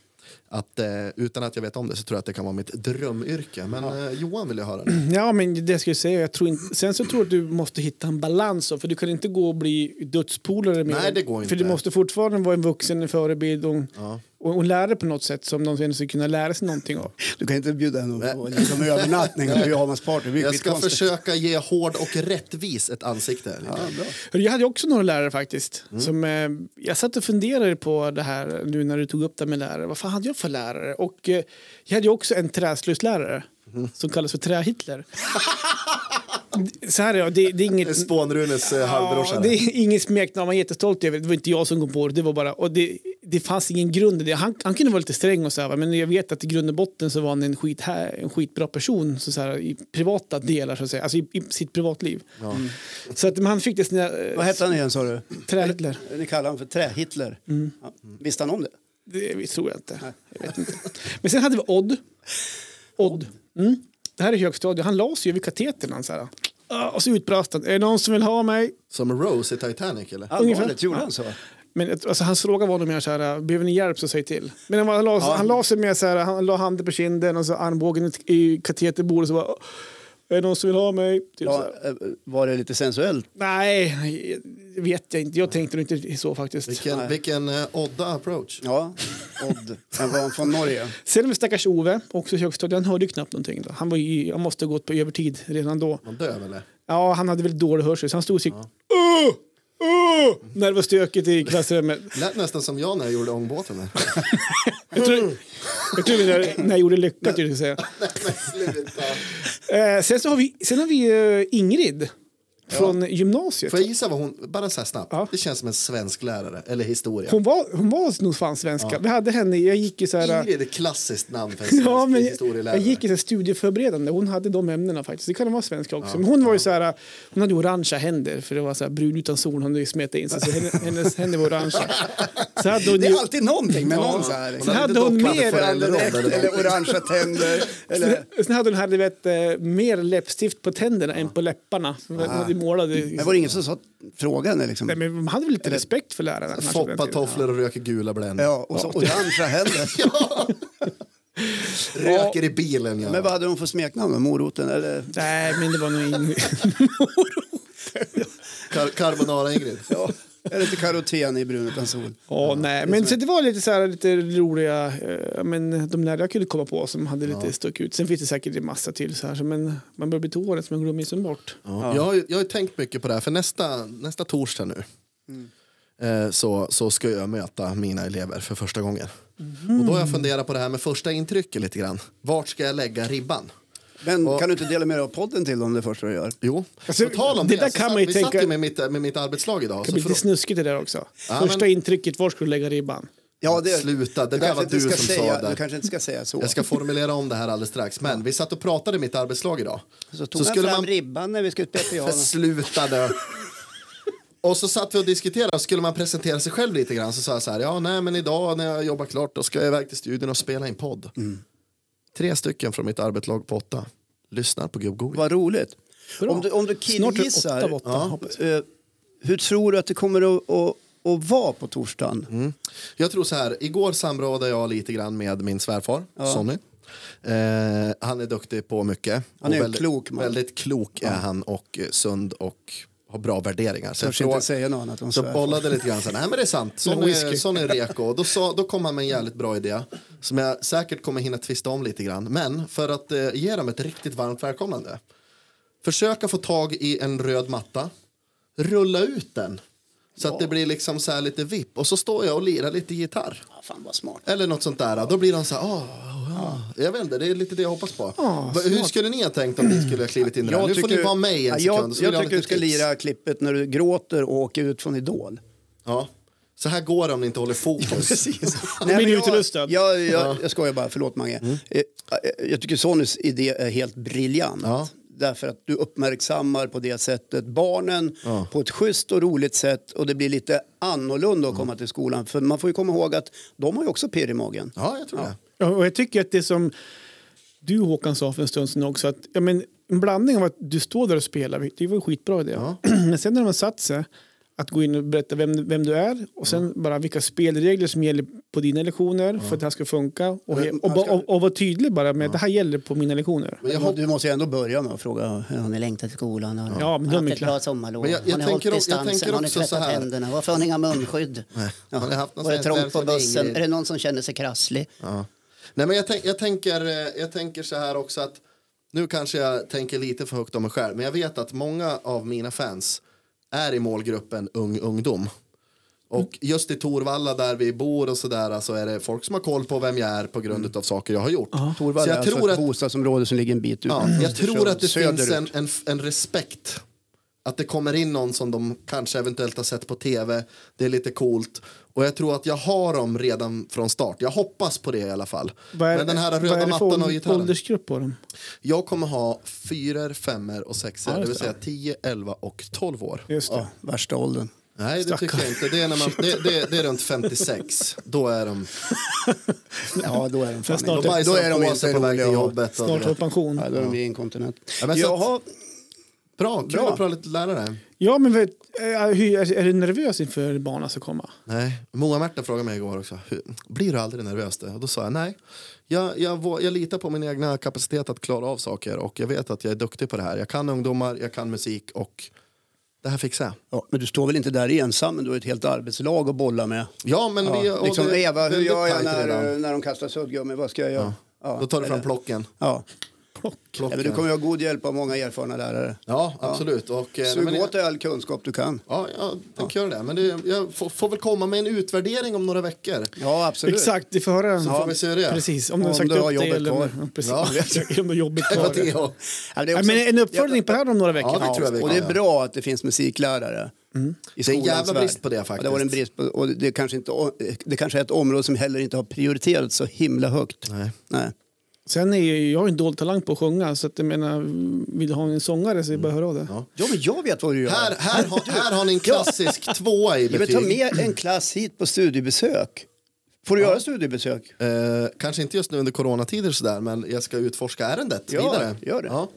att eh, utan att jag vet om det så tror jag att det kan vara mitt drömyrke. Men eh, Johan vill jag höra nu. Ja, men det ska jag säga. Jag tror inte, sen så tror jag att du måste hitta en balans. då, För du kan inte gå och bli dödspolare med Nej, dem. det går För inte. du måste fortfarande vara en vuxen en förebild och, Ja. och, och lära på något sätt som de sen ska kunna lära sig någonting av. Du kan inte bjuda henne på liksom, övernattning och pyjamas party. Det är Jag ska skitkonstigt. försöka ge hård och rättvis ett ansikte. Hörru, Jag hade ju också några lärare faktiskt. Som, eh, jag satt och funderade på det här nu när du tog upp det med lärare. Vad fan hade jag för lärare? Och eh, jag hade ju också en träslöjdslärare som kallas för Trähitler. Så här är jag, det, det är inget... Spånrunes eh, Ja, halvbrorsa. det är ingen smeknamn man är jättestolt över. Det var inte jag som kom på det. Det, var bara, och det, det fanns ingen grund i det. Han, han kunde vara lite sträng och så här, va, men jag vet att i grund och botten så var han en, skit här, en skitbra person så så här, i privata delar, så att säga. alltså i, i sitt privatliv. Så att, men han fick det sina eh, Vad hette han igen sa du? trähitler. Ni kallar honom för Trä-Hitler. Mm. Ja. Visste han om det? Det tror jag inte. Jag vet inte. Men sen hade vi Odd. Odd. Mm. Det här är högstadiet. Han la sig ju vid katetern. Han, så här. Ah, Och så utbrast han. Är det någon som vill ha mig? Som Rose i Titanic eller? Alltså, Allvarligt, gjorde han så? Men jag tror- alltså, hans fråga var nog mer så här, äh, behöver ni hjälp så säg till. Men han, var, han, la, han la sig mer så här, äh, han la handen på kinden och så armbågen i- i kateterbordet och så bara, är det någon som vill ha mig? Typ så Ja, här. eh, var det lite sensuellt? Nej, det vet jag inte. Jag tänkte nog inte så faktiskt. Vilken, vilken eh, odda approach. Ja, Odd. Han var från Norge. Sen med stackars Ove, också i högstadiet, han hörde ju knappt någonting. Då. Han, var ju, han måste ha gått på övertid redan då. Man döv eller? Ja, han hade väldigt dålig hörsel så han stod och skrek "Åh! Åh!" när det var stökigt i klassrummet. Lät nästan som jag när jag gjorde ångbåten. där. Jag tror, jag tror när, när jag gjorde lycka, skulle jag säga. Nej, men sluta. Eh, sen, så har vi, sen har vi eh, Ingrid från gymnasiet. Får jag gissa vad hon, bara så här snabbt, Ja. det känns som en svensk lärare eller historia. Hon var, hon var nog fan svenska. Vi hade henne, jag gick i så här... Ingrid är ett klassiskt namn för en svensk Ja, men jag, historielärare. jag gick i så här studieförberedande. Hon hade de ämnena faktiskt. Det kan vara svenska också. Men hon var ju så här, hon hade orangea händer för det var så här brun utan sol. Hon hade ju smetat in sig så hennes, hennes händer var orangea. Så hade hon Det ju, är alltid någonting med någon så här. så Liksom. hade hade inte hon dockat mer... för en roll. Direkt, eller orangea tänder. Eller... Sen hade hon här, du vet, eh, mer läppstift på tänderna än på läpparna. Hon Ah. hade målade. Men var det ingen som sa frågan? Liksom? Nej, men man hade väl lite respekt för lärarna. kanske på den Foppa tiden. tofflor och röker gula Blend. Ja, och så orangea händer. Röker i bilen. Ja. Men vad hade hon för smeknamn då? Moroten eller? Nej, men det var nog ingen... Kar- Carbonara-Ingrid. Ja. Eller inte karoten i brun utan sol. Ja, nej. Men så det var lite så här, lite roliga, eh, men de där jag kunde komma på som hade lite stuck ut. Sen finns det säkert en massa till så här, så, men man börjar bli till året så man glömmer liksom bort. Ja. Jag, har ju- jag har ju tänkt mycket på det här, för nästa, nästa torsdag nu Mm. eh, så, så ska jag möta mina elever för första gången. Mhm. Och då har jag funderat på det här med första intrycket lite grann. Vart ska jag lägga ribban? Men kan du inte dela med dig av podden till dem det första du gör? Jo, Alltså, på tal om det det, där så kan satt- man ju vi tänka- satt ju med mitt, med mitt arbetslag idag. Det Så blir lite för, snuskigt det där också. Ja, Första men- intrycket, var ska du lägga ribban? Ja, Sluta, det du där kanske var inte du ska som sa säga, det. Du kanske inte ska säga så. jag ska formulera om det här alldeles strax. Men vi satt och pratade i mitt arbetslag idag. Så tog han fram ribban när vi skulle spela piano. Men sluta nu. Och så satt vi och diskuterade, skulle man presentera sig själv lite grann så sa jag så här, ja nej men idag när jag jobbar klart då ska jag iväg till studion och spela in podd. Mm. Tre stycken från mitt arbetslag på åtta lyssnar på gubbgoing. Vad roligt. Bra. Om du, om du Snart är det åtta av killgissar, åtta, hoppas eh, hur tror du att det kommer att, att, att vara på torsdagen? Mm. Jag tror så här, igår samrådde jag lite grann med min svärfar, Sonny. Eh, han är duktig på mycket. Han är Och en klok man. Väldigt klok är han och eh, sund och har bra värderingar. Så jag Törs frågar- inte säga något annat om Så svärfar. bollade lite grann. Så, här, Nej men det är sant. Sån Med är, whisky. sån är reko. Och Då, sa, då kom han med en jävligt bra idé. Som jag säkert kommer hinna tvista om lite grann. Men för att eh, ge dem ett riktigt varmt välkomnande. Försöka få tag i en röd matta. Rulla ut den. Så att det blir liksom så här lite vipp. Och så står jag och lirar lite gitarr. Ja, fan vad smart. Eller något sånt där. Då blir de så här. "Åh, ja." Jag vet inte, det är lite det jag hoppas på. Ah, Ja, Va- Hur skulle ni ha tänkt om ni skulle ha klivit in i det här? Nu får ni vara med i en Ja, sekund. jag, så vill jag ha tycker du lite ska tips. lira klippet när du gråter och åker ut från Idol. Ja. Så här går det om ni inte håller fokus. Nej, blir men du jag- utelustad. Jag, jag, jag skojar bara, förlåt Mange. Mm. Eh, eh, Jag tycker Sonys idé är helt briljant. Ja. Därför att du uppmärksammar på det sättet barnen på ett schysst och roligt sätt och det blir lite annorlunda att Mm. komma till skolan. För man får ju komma ihåg att de har ju också pirr i magen. Ja, jag tror det. Ja, och jag tycker att det som du Håkan sa för en stund sedan också, att ja, men, en blandning av att du står där och spelar, det var ju skitbra idé. Men sen när de har satt sig, att gå in och berätta vem, vem du är och sen bara vilka spelregler som gäller på dina lektioner för att det här ska funka. Och, och, Men och, man ska- och, och vara tydlig bara med att det här gäller på mina lektioner. Men jag, Men hopp- Du måste ju ändå börja med att fråga hur har ni längtat till skolan? Har ni Ja, men de är haft ett klart. bra sommarlov? Men jag- jag har ni tänker hållit o- jag distansen? tänker Har ni också tvättat så här. händerna? Varför har ni inga munskydd? Ja. Har ni haft någon Var det sån här trångt på klämsam bussen? Ingrid? Är det någon som känner sig krasslig? ja. Nej, men jag, tänk, jag, tänker, eh, jag tänker så här också att nu kanske jag tänker lite för högt om mig själv, men jag vet att många av mina fans är i målgruppen ung ungdom. Och just i Torvalla där vi bor och sådär så alltså är det folk som har koll på vem jag är på grund av saker jag har gjort. Mm. Torvalla så är jag alltså tror ett att bostadsområde som ligger en bit ut. Mm. Ja, jag tror att det Söderut. finns en, en, en respekt. Att det kommer in någon som de kanske eventuellt har sett på tv. Det är lite coolt. Och jag tror att jag har dem redan från start. Jag hoppas på det i alla fall. Vad är, Men den här vad röda är det för mattan och åld- gitarren. åldersgrupp på dem? Jag kommer ha fyror, femmor och sexor. Ja, det just vill det. säga 10, 11 och 12 år. Just det. Ja, värsta åldern. Nej, det tycker jag inte. Det är, när man, det, det, det är runt 56. Då är de, Ja, då är de fan Fast inte. då snart- Då bajsar är de de på sig inte på väg roliga. till och- jobbet. Och Snart det. får pension. Ja, då är de inkontinent. Ja, men så att- Jaha, Bra, kul Bra. att prata lärare. Ja, men vet, är, är, är du nervös inför barnen ska komma? Nej, Moa-Märta frågade mig igår också. "Hur- Blir du aldrig nervös? Då? Och då sa jag nej. Jag, jag, vå- jag litar på min egna kapacitet att klara av saker och jag vet att jag är duktig på det här. Jag kan ungdomar, jag kan musik och det här fixar jag. ja, men du står väl inte där ensam, men du har ett helt arbetslag att bolla med. Ja, men vi... Ja, och liksom, det är Eva, hur väldigt gör jag tajt när, redan. när de kastar suddgummi? Vad ska jag göra? Ja, Då tar du fram eller- plocken. Ja. plocken. Ja, men du kommer ju ha god hjälp av många erfarna lärare. Ja, absolut. Och, eh, Sug men- åt dig all kunskap du kan. Ja, jag tänker göra det. Men det, jag får, får väl komma med en utvärdering om några veckor. Ja, absolut. Exakt, vi får höra. Så får vi se hur det är. Precis, om du Om har sagt du har upp det jobbet eller kvar. Ja, precis. Ja. om du har jobbet Det var kvar. det jag- Ja, det är Ja, också- men en uppföljning på det här om några veckor. Ja, det tror jag vi och det kan göra. är bra att det finns musiklärare. I Det är en skolans jävla värld. brist på det, Ja, Det faktiskt. var en brist på, och det kanske, inte, det kanske är ett område som heller inte har prioriterats så himla högt. Nej. Nej. Sen är ju, jag har en dold talang på att sjunga, så att jag menar, vill du ha en sångare så är det bara att höra av dig. Ja. Ja, men jag vet vad du gör. Här, här, har, här har ni en klassisk tvåa i jag vill ta betyg. med en klass hit på studiebesök. Får du göra studiebesök? Eh, kanske inte just nu under coronatider sådär, men jag ska utforska ärendet Ja, vidare. gör det. Ja,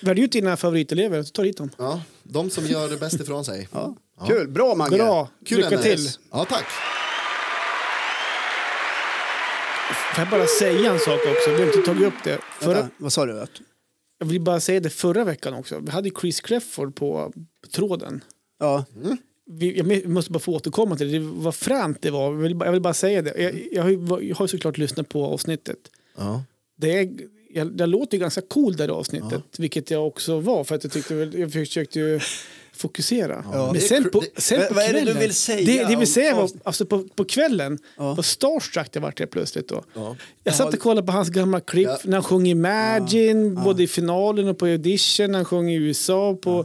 Välj ut dina favoritelever, så ta hit dem. ja, de som gör det bäst ifrån sig. Ja. Kul, bra Mange. Bra, lycka Hennes. till. Ja, tack. Får jag bara säga en sak också? Vi har inte tagit upp det. Förra, Vänta, vad sa du? Att, jag vill bara säga det förra veckan också. Vi hade ju Chris Clefford på tråden. ja, Mm. Vi, jag måste bara få återkomma till det. det vad fränt det var. Jag vill, bara- jag vill bara säga det. Jag, jag, har, ju- jag har ju såklart lyssnat på avsnittet. Ja. Det är, jag, jag låter ju ganska cool där i avsnittet, vilket jag också var. För att jag, tyckte, väl- jag försökte ju fokusera. Men Det är sen kul. på, Det- sen vad- på vad är det kvällen, du vill säga Det, det om vill säga var, avsnitt? alltså på, på kvällen, Ja. vad starstruck jag vart helt plötsligt då. Ja. Jag satt och kollade på hans gamla klipp Ja. när han sjöng Imagine, både i finalen och på audition, när han sjöng i USA på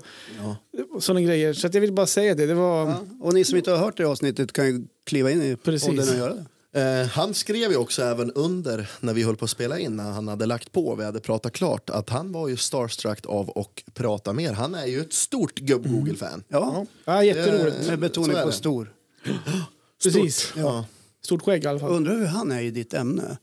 sådana grejer. Så att jag vill bara säga det. Det var... och ni som inte har hört det avsnittet kan ju kliva in i Precis. podden och göra det. Eh, han skrev ju också även under när vi höll på att spela in, när han hade lagt på och vi hade pratat klart, att han var ju starstruck av och prata mer. Han är ju ett stort gubb-Google-fan. Mm. Ja, Ja, jätteroligt. Eh, med betoning så är på det. stor. Precis. Ja. Stort skägg i alla fall. Undrar hur han är i ditt ämne?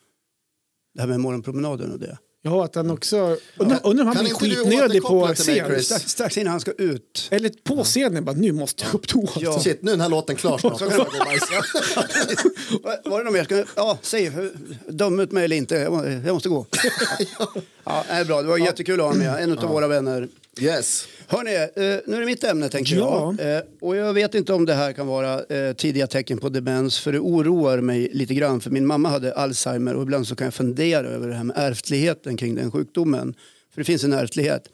Det här med morgonpromenaden och det. Ja, att han också... Undrar undrar om han Kan blir inte du skitnödig på återkoppla till mig, scen. Chris? Strax, strax innan han ska ut. Eller på scenen, bara nu måste jag upp toa. Ja. Shit, nu är den här låten klar snart. Då får jag gå och bajsa. Va- Var det något mer? Ska- Ja, säg. hur- Döm ut mig eller inte. Jag må- Jag måste gå. Ja, det är bra. Det var jättekul att ha med. En av våra vänner. Yes. Hörni, eh, nu är det mitt ämne tänker Ja. jag. Eh, Och jag vet inte om det här kan vara eh, tidiga tecken på demens för det oroar mig lite grann för min mamma hade Alzheimer och ibland så kan jag fundera över det här med ärftligheten kring den sjukdomen. För det finns en ärftlighet.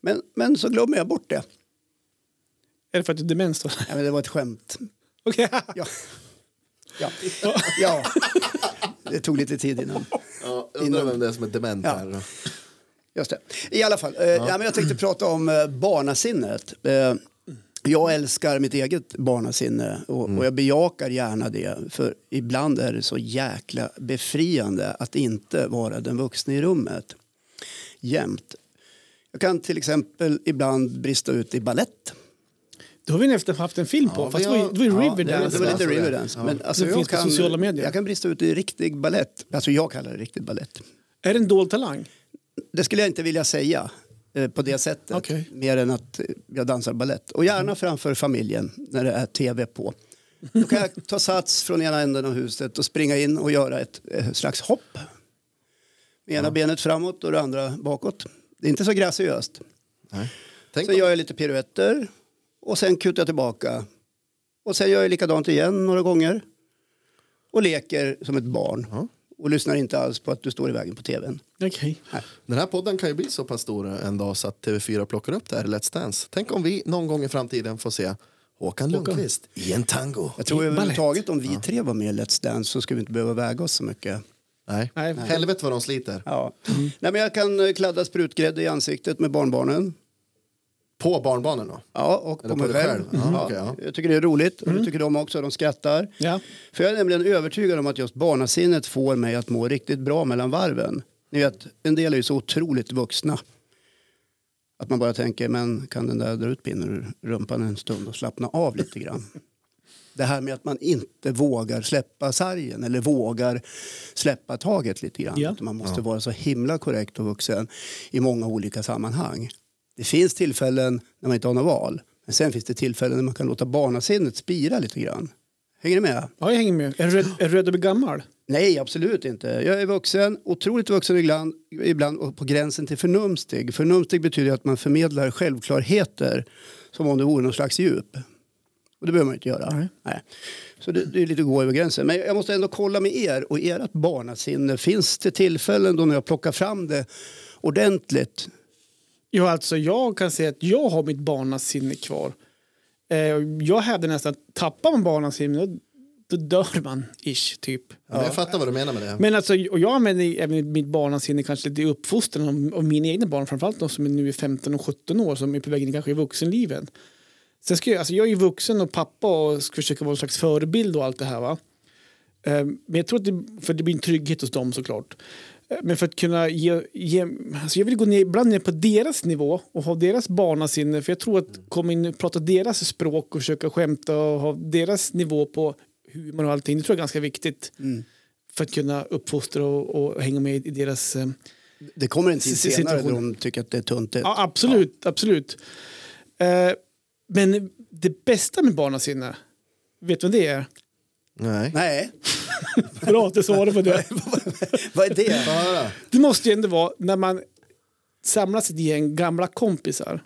Men, men så glömmer jag bort det. Är det för att du är demens då? Ja, men det var ett skämt. Okej. Ja. Ja. ja. Det tog lite tid innan. Ja, undrar vem det är som är dement här. Just det. I alla fall, eh, ja. men jag tänkte prata om eh, barnasinnet. Eh, jag älskar mitt eget barnasinne och, och jag bejakar gärna det. För ibland är det så jäkla befriande att inte vara den vuxna i rummet. Jämt. Jag kan till exempel ibland brista ut i ballett. Då har vi nästan haft en film på. Ja, fast vi det var ju- har- det var ju Ja, Riverdance. Det var lite alltså, det. Riverdance. Ja. Men alltså, Det jag, finns på kan, sociala medier. jag kan brista ut i riktig ballett. Alltså jag kallar det riktig ballett. Är det en dold talang? Det skulle jag inte vilja säga eh, på det sättet. Okej. Mer än att eh, jag dansar ballett. Och gärna framför familjen när det är tv på. Då kan jag ta sats från ena änden av huset och springa in och göra ett eh, slags hopp. Med ena benet framåt och det andra bakåt. Det är inte så graciöst. Nej. Tänk Sen om- gör jag lite piruetter och sen kutar jag tillbaka. Och sen gör jag likadant igen några gånger. Och leker som ett barn. Och lyssnar inte alls på att du står i vägen på tvn. Okej. Den här podden kan ju bli så pass stor en dag så att TV4 plockar upp det här i Let's Dance. Tänk om vi någon gång i framtiden får se Håkan Lundqvist i en tango. Jag tror I överhuvudtaget om vi tre var med i Let's Dance så skulle vi inte behöva väga oss så mycket. Nej. Nej. Helvete vad de sliter. Ja. Nej, men jag kan eh, kladda sprutgrädde i ansiktet med barnbarnen. På barnbarnen då? Ja, och Eller på på mig dig själv. själv. Ja, Ja, okej, ja. Jag tycker det är roligt och det tycker de också. De skrattar. Ja. För jag är nämligen övertygad om att just barnasinnet får mig att må riktigt bra mellan varven. Ni vet, en del är ju så otroligt vuxna. Att man bara tänker, men kan den där dra ut pinnen ur rumpan en stund och slappna av lite grann? Det här med att man inte vågar släppa sargen eller vågar släppa taget lite grann. Ja. Att Man måste vara så himla korrekt och vuxen i många olika sammanhang. Det finns tillfällen när man inte har något val. Men sen finns det tillfällen när man kan låta barnasinnet spira lite grann. Hänger ni med? Ja, jag hänger med. Är du rädd, är du rädd att bli gammal? Nej, absolut inte. Jag är vuxen, otroligt vuxen ibland, ibland och på gränsen till förnumstig. Förnumstig betyder att man förmedlar självklarheter som om det vore någon slags djup. Och det behöver man ju inte göra. Nej. Så det, det är lite att gå över gränsen. Men jag måste ändå kolla med er och ert barnasinne. Finns det tillfällen då när jag plockar fram det ordentligt? Ja, alltså jag kan säga att jag har mitt barnasinne kvar. Eh, jag hävdar nästan att tappar man barnasinne då, då dör man, ish, typ. Men jag fattar vad du menar med det. Men alltså, och jag använder ju även mitt barnasinne kanske lite i uppfostran av, av mina egna barn, framförallt de som är nu är 15 och 17 år som är på väg in kanske i vuxenlivet. Sen ska jag, alltså jag är ju vuxen och pappa och ska försöka vara en slags förebild och allt det här. Va? Eh, Men jag tror att det, för det blir en trygghet hos dem såklart. Eh, Men för att kunna ge, ge alltså jag vill gå ner, ibland ner på deras nivå och ha deras barnasinne. För jag tror att komma in och prata deras språk och försöka skämta och ha deras nivå på humor och allting. Det tror jag är ganska viktigt. För att kunna uppfostra och, och hänga med i deras... Eh, Det kommer en tid S- s- senare då situation. de tycker att det är tuntigt. Ja, absolut. absolut. Eh, men det bästa med barnasinne, vet du vad det är? Nej. Nej, Bra att du svarade på det. Vad är det? Få höra. Det måste ju ändå vara när man samlas ett gäng gamla kompisar.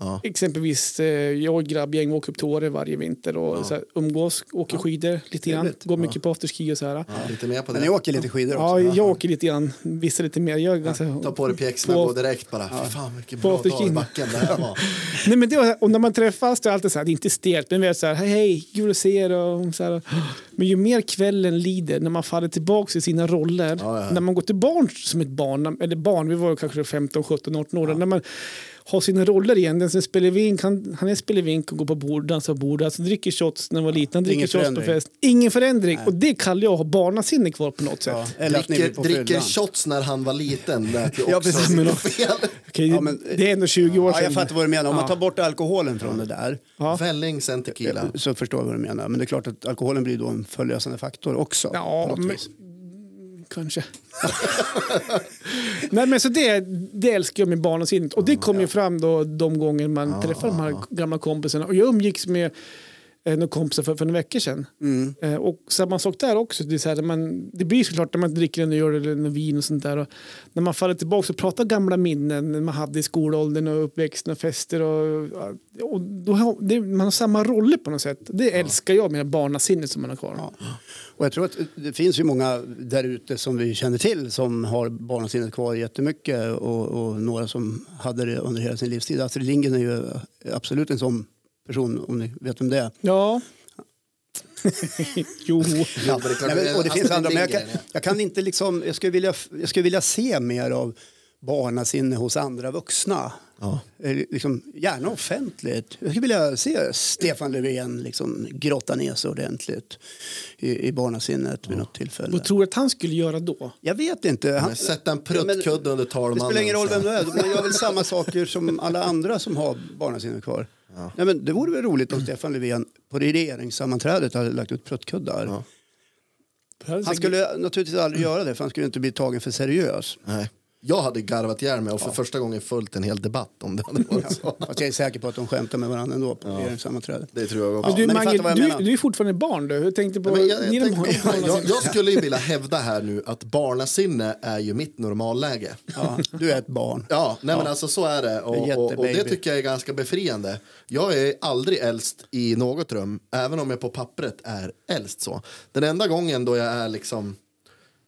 Ja. Exempelvis eh, jag och grabbgäng åker upp till Åre varje vinter och så här, umgås, åker skidor lite grann, Trevligt. går mycket på afterski och så här. Ja, lite mer på Men ni det. åker lite skidor Ja, också? jag åker lite grann, vissa lite mer. Jag är ganska, Ta på dig pjäxorna På- och gå direkt bara. Fy fan vilken På bra dag i afterskin. backen det här var. Nej, men det var, och när man träffas det är alltid så här, det är inte stelt, men vi är så här, hej, hej, kul att se er. Och så här. Men ju mer kvällen lider, när man faller tillbaka i sina roller, Ja, ja, ja. när man går till barn som ett barn, när- eller barn, vi var ju kanske 15, 17, 18 år, när man har sina roller igen. Den som spelar vink, han, han är spelevink och går på bord, dansar på bord, alltså dricker shots när han var liten, han dricker Ingen shots på förändring. fest. Ingen förändring. Och det kallar jag att ha barnasinne kvar på något sätt. Ja, Eller att ni blir Dricker, på dricker fyllan. shots när han var liten lät ju också Ja, precis. lite fel. Okej, Ja, men- det är ändå 20 år Ja, sedan. jag fattar vad du menar. Om man Ja. tar bort alkoholen från det där Ja. Välling sen tequila. så förstår jag vad du menar. Men det är klart att alkoholen blir då en förlösande faktor också. Ja, på något men- vis. Kanske. Nej, men så det, det älskar jag med barnasinnet. Och det kom ju fram då de gånger man träffar de här gamla kompisarna. Och jag umgicks med eh, några kompisar för, för några veckor sedan. Eh, och samma sak där också. Det, är så här, när man, det blir såklart när man dricker en öl eller en vin och sånt där. Och när man faller tillbaka och pratar gamla minnen man hade i skolåldern och uppväxten och fester. Och, och då har, det, man har samma roller på något sätt. Det älskar jag med barnasinnet som man har kvar. Ja. Och jag tror att det finns ju många där ute som vi känner till som har barnasinnet kvar jättemycket och, och några som hade det under hela sin livstid. Astrid Lindgren är ju absolut en sån person om ni vet vem det är. Ja. jo. Ja, men Alltså, det är klart, Nej, men, och det Astrid finns andra, men jag, kan, Lindgren, jag kan inte liksom, jag skulle, vilja, jag skulle vilja se mer av barnasinne hos andra vuxna. Ja. Eh, Liksom, gärna offentligt. Jag skulle vilja se Stefan Löfven liksom grotta ner sig ordentligt i, i barnasinnet vid något tillfälle. Vad tror du att han skulle göra då? Jag vet inte. Han, Men sätt en Ja, men- pruttkudde under Det talmannen. spelar ingen roll så vem här. du är, man gör väl samma saker som alla andra som har barnasinne kvar. Nej, men det vore väl roligt om Stefan Löfven på regeringssammanträdet hade lagt ut pruttkuddar. Alltså, Han skulle naturligtvis aldrig göra det för han skulle inte bli tagen för seriös. Nej. Jag hade garvat ihjäl mig och för första gången följt en hel debatt om det hade varit så. Fast jag är säker på att de skämtar med varandra ändå på regeringssammanträdet. Det tror jag Men också. du, men ni fattar Mange, vad jag du, menar. du är fortfarande barn. Du. Jag tänkte på... Ja, men jag, ni jag, de har- tänkte, jag, jag skulle ju vilja hävda här nu att barnasinne är ju mitt normalläge. Ja, du är ett barn. Ja, nej men alltså så är det. Och, Det är och, och det jättebaby. tycker jag är ganska befriande. Jag är aldrig äldst i något rum, även om jag på pappret är äldst så. Den enda gången då jag är liksom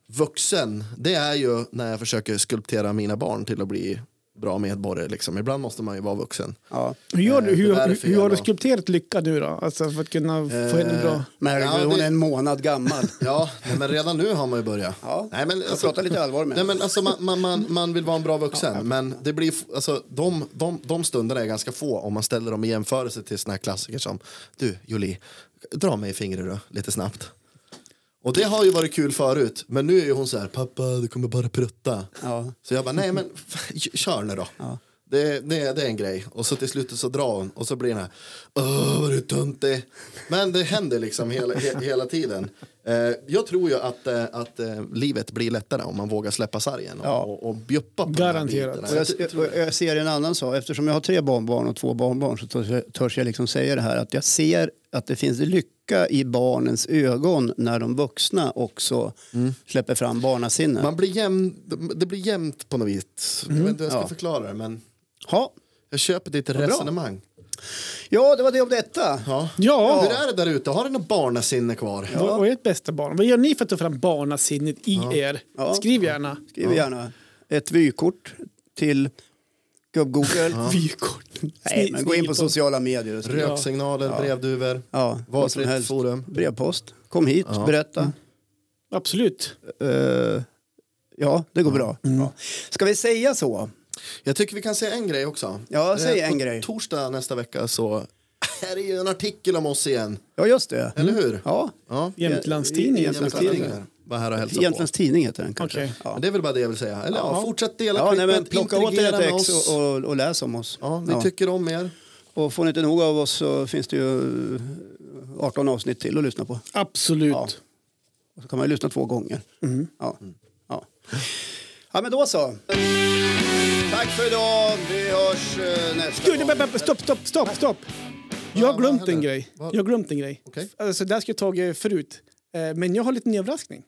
vuxen, det är ju när jag försöker skulptera mina barn till att bli bra medborgare. Liksom. Ibland måste man ju vara vuxen. Ja. Hur, gör du, Eh, det hur, där är hur, fel hur har du då. skulpterat Lycka nu då? Alltså för att kunna få Eh, henne bra... Men herregud, Ja, det- hon är en månad gammal. Ja, nej, men redan nu har man ju börjat. Ja, nej, men, alltså- jag pratar lite allvar med nej, det. men alltså, man, man, man, man vill vara en bra vuxen, men det blir, f- alltså, de, de, de stunderna är ganska få om man ställer dem i jämförelse till såna här klassiker som Du, Julie, dra mig i fingret då, lite snabbt. Och det har ju varit kul förut, men nu är ju hon så här, pappa, du kommer bara prutta. Ja. Så jag bara, nej men f- kör nu då. Det, det, det är en grej. Och så till slut så drar hon och så blir den här, åh vad du är töntig. Men det händer liksom hela, he, hela tiden. Eh, jag tror ju att, eh, att eh, livet blir lättare om man vågar släppa sargen och, Ja. och, och bjuppa på Garanterat. de här Och bitarna. jag, och jag ser en annan sak. Eftersom jag har tre barnbarn och två barnbarn så törs jag, törs jag liksom säga det här att jag ser att det finns lycka i barnens ögon när de vuxna också släpper fram barnasinnet. Mm. Man blir jämn, det blir jämnt på något vis. Jag Mm. vet inte hur jag ska förklara det, men Ja. jag köper ditt resonemang. ja, det var det om detta. Ja. Ja. Hur är det där ute? Har du något barnasinne kvar? Vad, vad är ert bästa barn? Vad gör ni för att ta fram barnasinnet i er? Ja. Skriv gärna. Skriv gärna ett vykort till gubb-Google. Vykort. Nej, men gå in på sociala medier. och skriv. Röksignaler, brevduvor, Ja, vad som valfritt helst. forum. Brevpost. Kom hit, berätta. Absolut. Mm. Eh, ja, det går bra. Ja. Ska vi säga så? Jag tycker vi kan säga en grej också. Eh, Ja, säg en på grej. torsdag nästa vecka så är det ju en artikel om oss igen. Ja, just det. Eller hur? Mm. Ja, Ja. Jämtlandstidningen. Jämtlands- Jämtlands Tidningar. Var här och hälsa Jämtlands Tidning heter den kanske. Okej. Ja. på. Men Det är väl bara det jag vill säga. Eller ja, fortsätt dela Ja, nej, klippen, men plocka åt er interagera ett med ex oss. och, och, och läs om oss. Ja, vi tycker om er. Och får ni inte nog av oss så finns det ju eh, 18 avsnitt till att lyssna på. Absolut. Ja. Och så kan man ju lyssna två gånger. Mm. Ja. Ja. ja, men då så. Tack för idag. Vi hörs eh, nästa Gud, gång. men, men, men, stopp, stopp, stopp, stopp. Jag har glömt händer? en grej. Vad? Jag har glömt en grej. Okej. Alltså, det här ska jag tagit förut. Eh, Men jag har en liten överraskning.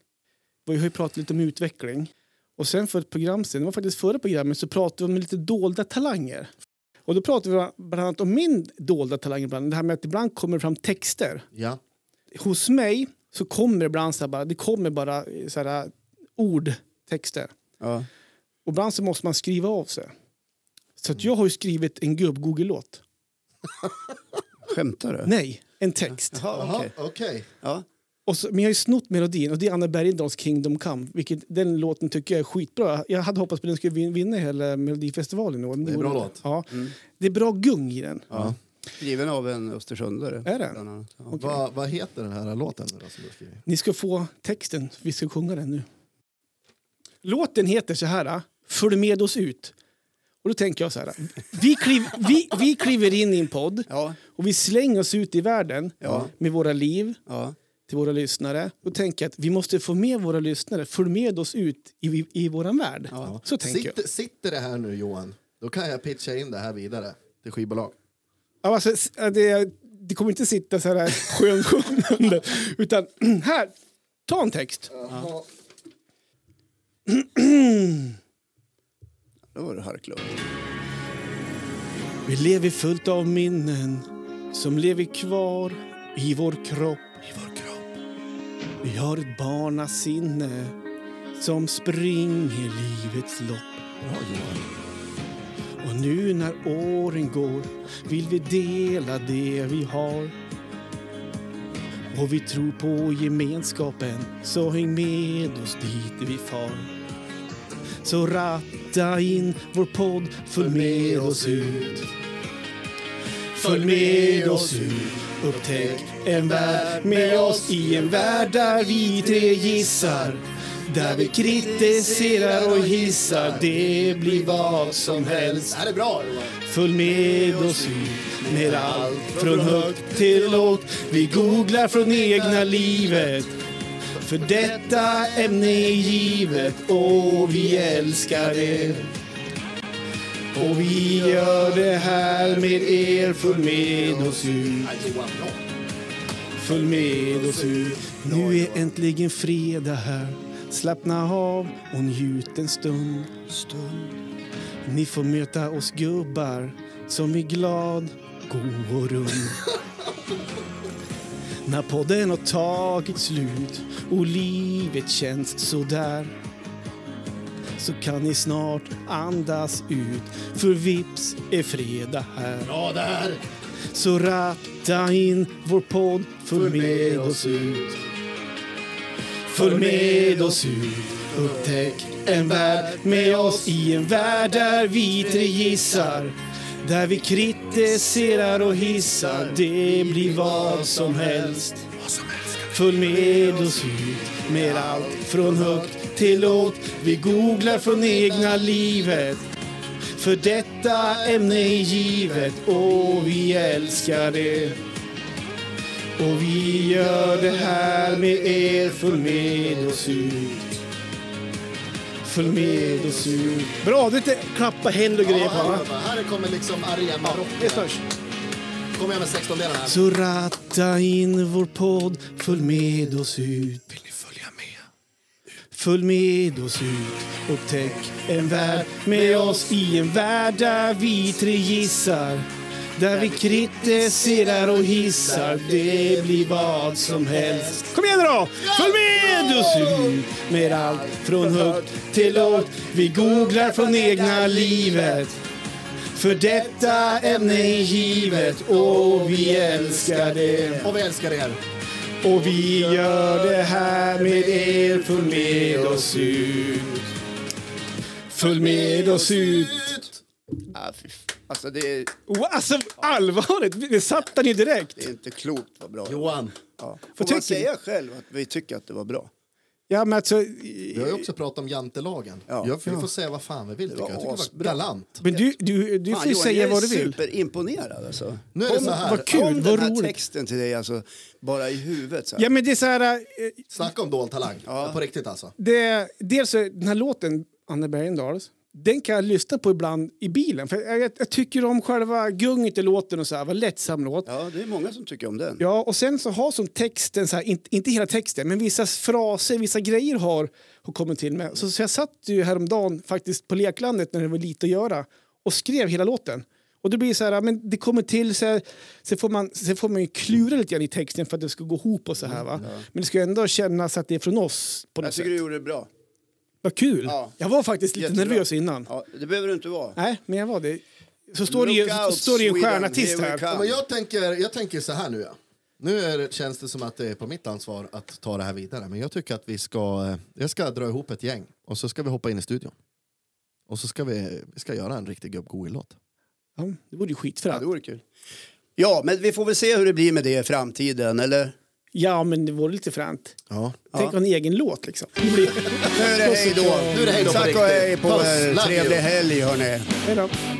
Vi har ju pratat lite om utveckling. Och sen för ett program sen, det var faktiskt förra programmet, så pratade vi om lite dolda talanger. Och då pratade vi bland annat om min dolda talang ibland. Det här med att ibland kommer det fram texter. Ja. Hos mig så kommer det ibland så här bara, det kommer bara eh, så här ord, texter. Ja. Och ibland så måste man skriva av sig. Så att jag har ju skrivit en gubb-Google-låt. Skämtar du? Nej, en text. Jaha, Jaha, okej. okej. Ja. Och så, men jag har ju snott melodin och det är Anna Bergendahls Kingdom Come. Vilket, den låten tycker jag är skitbra. Jag hade hoppats på att den skulle vin- vinna hela Melodifestivalen. i år, men Det är gjorde bra den inte. låt. Mm. Ja. Det är bra gung i den. Ja. Skriven av en östersundare. Är det? bland annat. Ja. Vad, vad heter den här låten nu då som du har skrivit? Ni ska få texten. Vi ska sjunga den nu. Låten heter så här. Följ med oss ut. Och då tänker jag så här. Vi, kliv, vi, vi kliver in i en podd Ja. och vi slänger oss ut i världen med våra liv ja. till våra lyssnare. Då tänker jag att vi måste få med våra lyssnare. Följ med oss ut i, i, i våran värld. Så tänker jag. sitter, sitter det här nu Johan, då kan jag pitcha in det här vidare till skivbolag. Ja, Alltså, s- det, det kommer inte sitta så här skönsjungande. Utan här, ta en text. Ja. Då var det harklubb. Vi lever fullt av minnen som lever kvar i vår kropp. I vår kropp. Vi har ett barnasinne som springer livets lopp. Bra Johan. Och nu när åren går vill vi dela det vi har. Och vi tror på gemenskapen, så häng med oss dit vi far. Så ratta in vår podd, följ med oss ut. Följ med oss ut, upptäck en värld med oss i en värld där vi tre gissar. Där vi kritiserar och hissar, det blir vad som helst. Det här är bra Johan. Följ med oss ut med allt från högt till lågt. Vi googlar från egna livet. För detta ämne är givet och vi älskar det. Och vi gör det här med er. Följ med oss ut. Ja, Johan, bra. Följ med oss ut. Nu är äntligen fredag här. Slappna av och njut en stund. stund. Ni får möta oss gubbar som är glad, god och rund. När podden har tagit slut och livet känns sådär så kan ni snart andas ut, för vips är fredag här. Bra där. Så ratta in vår podd, följ med oss ut. Följ med oss ut, upptäck en värld med oss i en värld där vi tre gissar. Där vi kritiserar och hissar, det blir vad som helst. Följ med oss ut med allt från högt till lågt. Vi googlar från egna livet. För detta ämne är givet och vi älskar det. Och vi gör det här med er, följ med oss ut. Följ med oss ut. Bra, det är lite klappa händer och Ja, grejer på här, va? Johan. här kommer liksom Det är arenarocken. störst. Kom igen med 16 delarna här. Så ratta in vår podd, följ med oss ut. Vill ni följa med? Följ med oss ut, upptäck en värld med oss i en värld där vi tre gissar. Där vi kritiserar och hissar, det blir vad som helst. Kom igen nu då! Följ med oss ut med allt från högt till lågt. Vi googlar från egna livet. För detta ämne är givet och vi älskar det. Och vi älskar er. Och vi gör det här med er. Följ med oss ut. Följ med oss ut. Ah, fy f- alltså det är, Oh, alltså allvarligt, det satt den ju direkt. det är inte klokt vad bra det var. Johan, ja. Får Vad man tycker ni? säga själv att vi tycker att det var bra? Ja, men alltså, vi har ju också pratat om jantelagen. Ja. Ja, vi får säga vad fan vi vill. Tycker jag. jag tycker det var asbra. galant. men du, du, du får Fan, ju Johan, säga jag vad är du vill. superimponerad alltså. Nu är det Kom- så här. vad kul. Kom vad den här roligt. texten till dig alltså, bara i huvudet. Så här. Ja, men det är så här... eh, Snacka om dold talang. Ja. På riktigt alltså. Det, dels så- den här låten, Anne Bergendahls, den kan jag lyssna på ibland i bilen. För jag, jag tycker om själva gunget i låten och så här, vad lättsam låt. Ja. Ja, det är många som tycker om den. och sen så har som texten, så här, inte, inte hela texten, men vissa fraser, vissa grejer har, har kommit till mig. Så, så jag satt ju häromdagen faktiskt på leklandet när det var lite att göra och skrev hela låten. Och det blir så här, ja, men det kommer till, så här, sen, får man, sen får man ju klura lite grann i texten för att det ska gå ihop och så här va. Men det ska ju ändå kännas att det är från oss på Mm, Jag något sätt. tycker du gjorde det bra. Vad kul! Ja. Jag var faktiskt lite Jättebra. nervös innan. Ja, det behöver du inte vara. Nej, men jag var det. Så står det ju, Look så out, står det ju en Sweden, stjärnartist here we här. come. Ja, men jag, tänker, jag tänker så här nu. Ja. Nu är, det- känns det som att det är på mitt ansvar att ta det här vidare. Men jag tycker att vi ska, eh, jag ska dra ihop ett gäng och så ska vi hoppa in i studion. Och så ska vi, vi ska göra en riktig gubb-goil-låt. Ja, det vore ju skit Ja, för det ja, vore kul. Ja, men vi får väl se hur det blir med det i framtiden, eller? ja, men det vore lite fränt. Ja. Tänk en egen låt liksom. Det blir- Nu är det hej då. Nu är det hej då på Tack och riktigt. hej på Puss, er. love Trevlig you. helg, hörni. Hej då.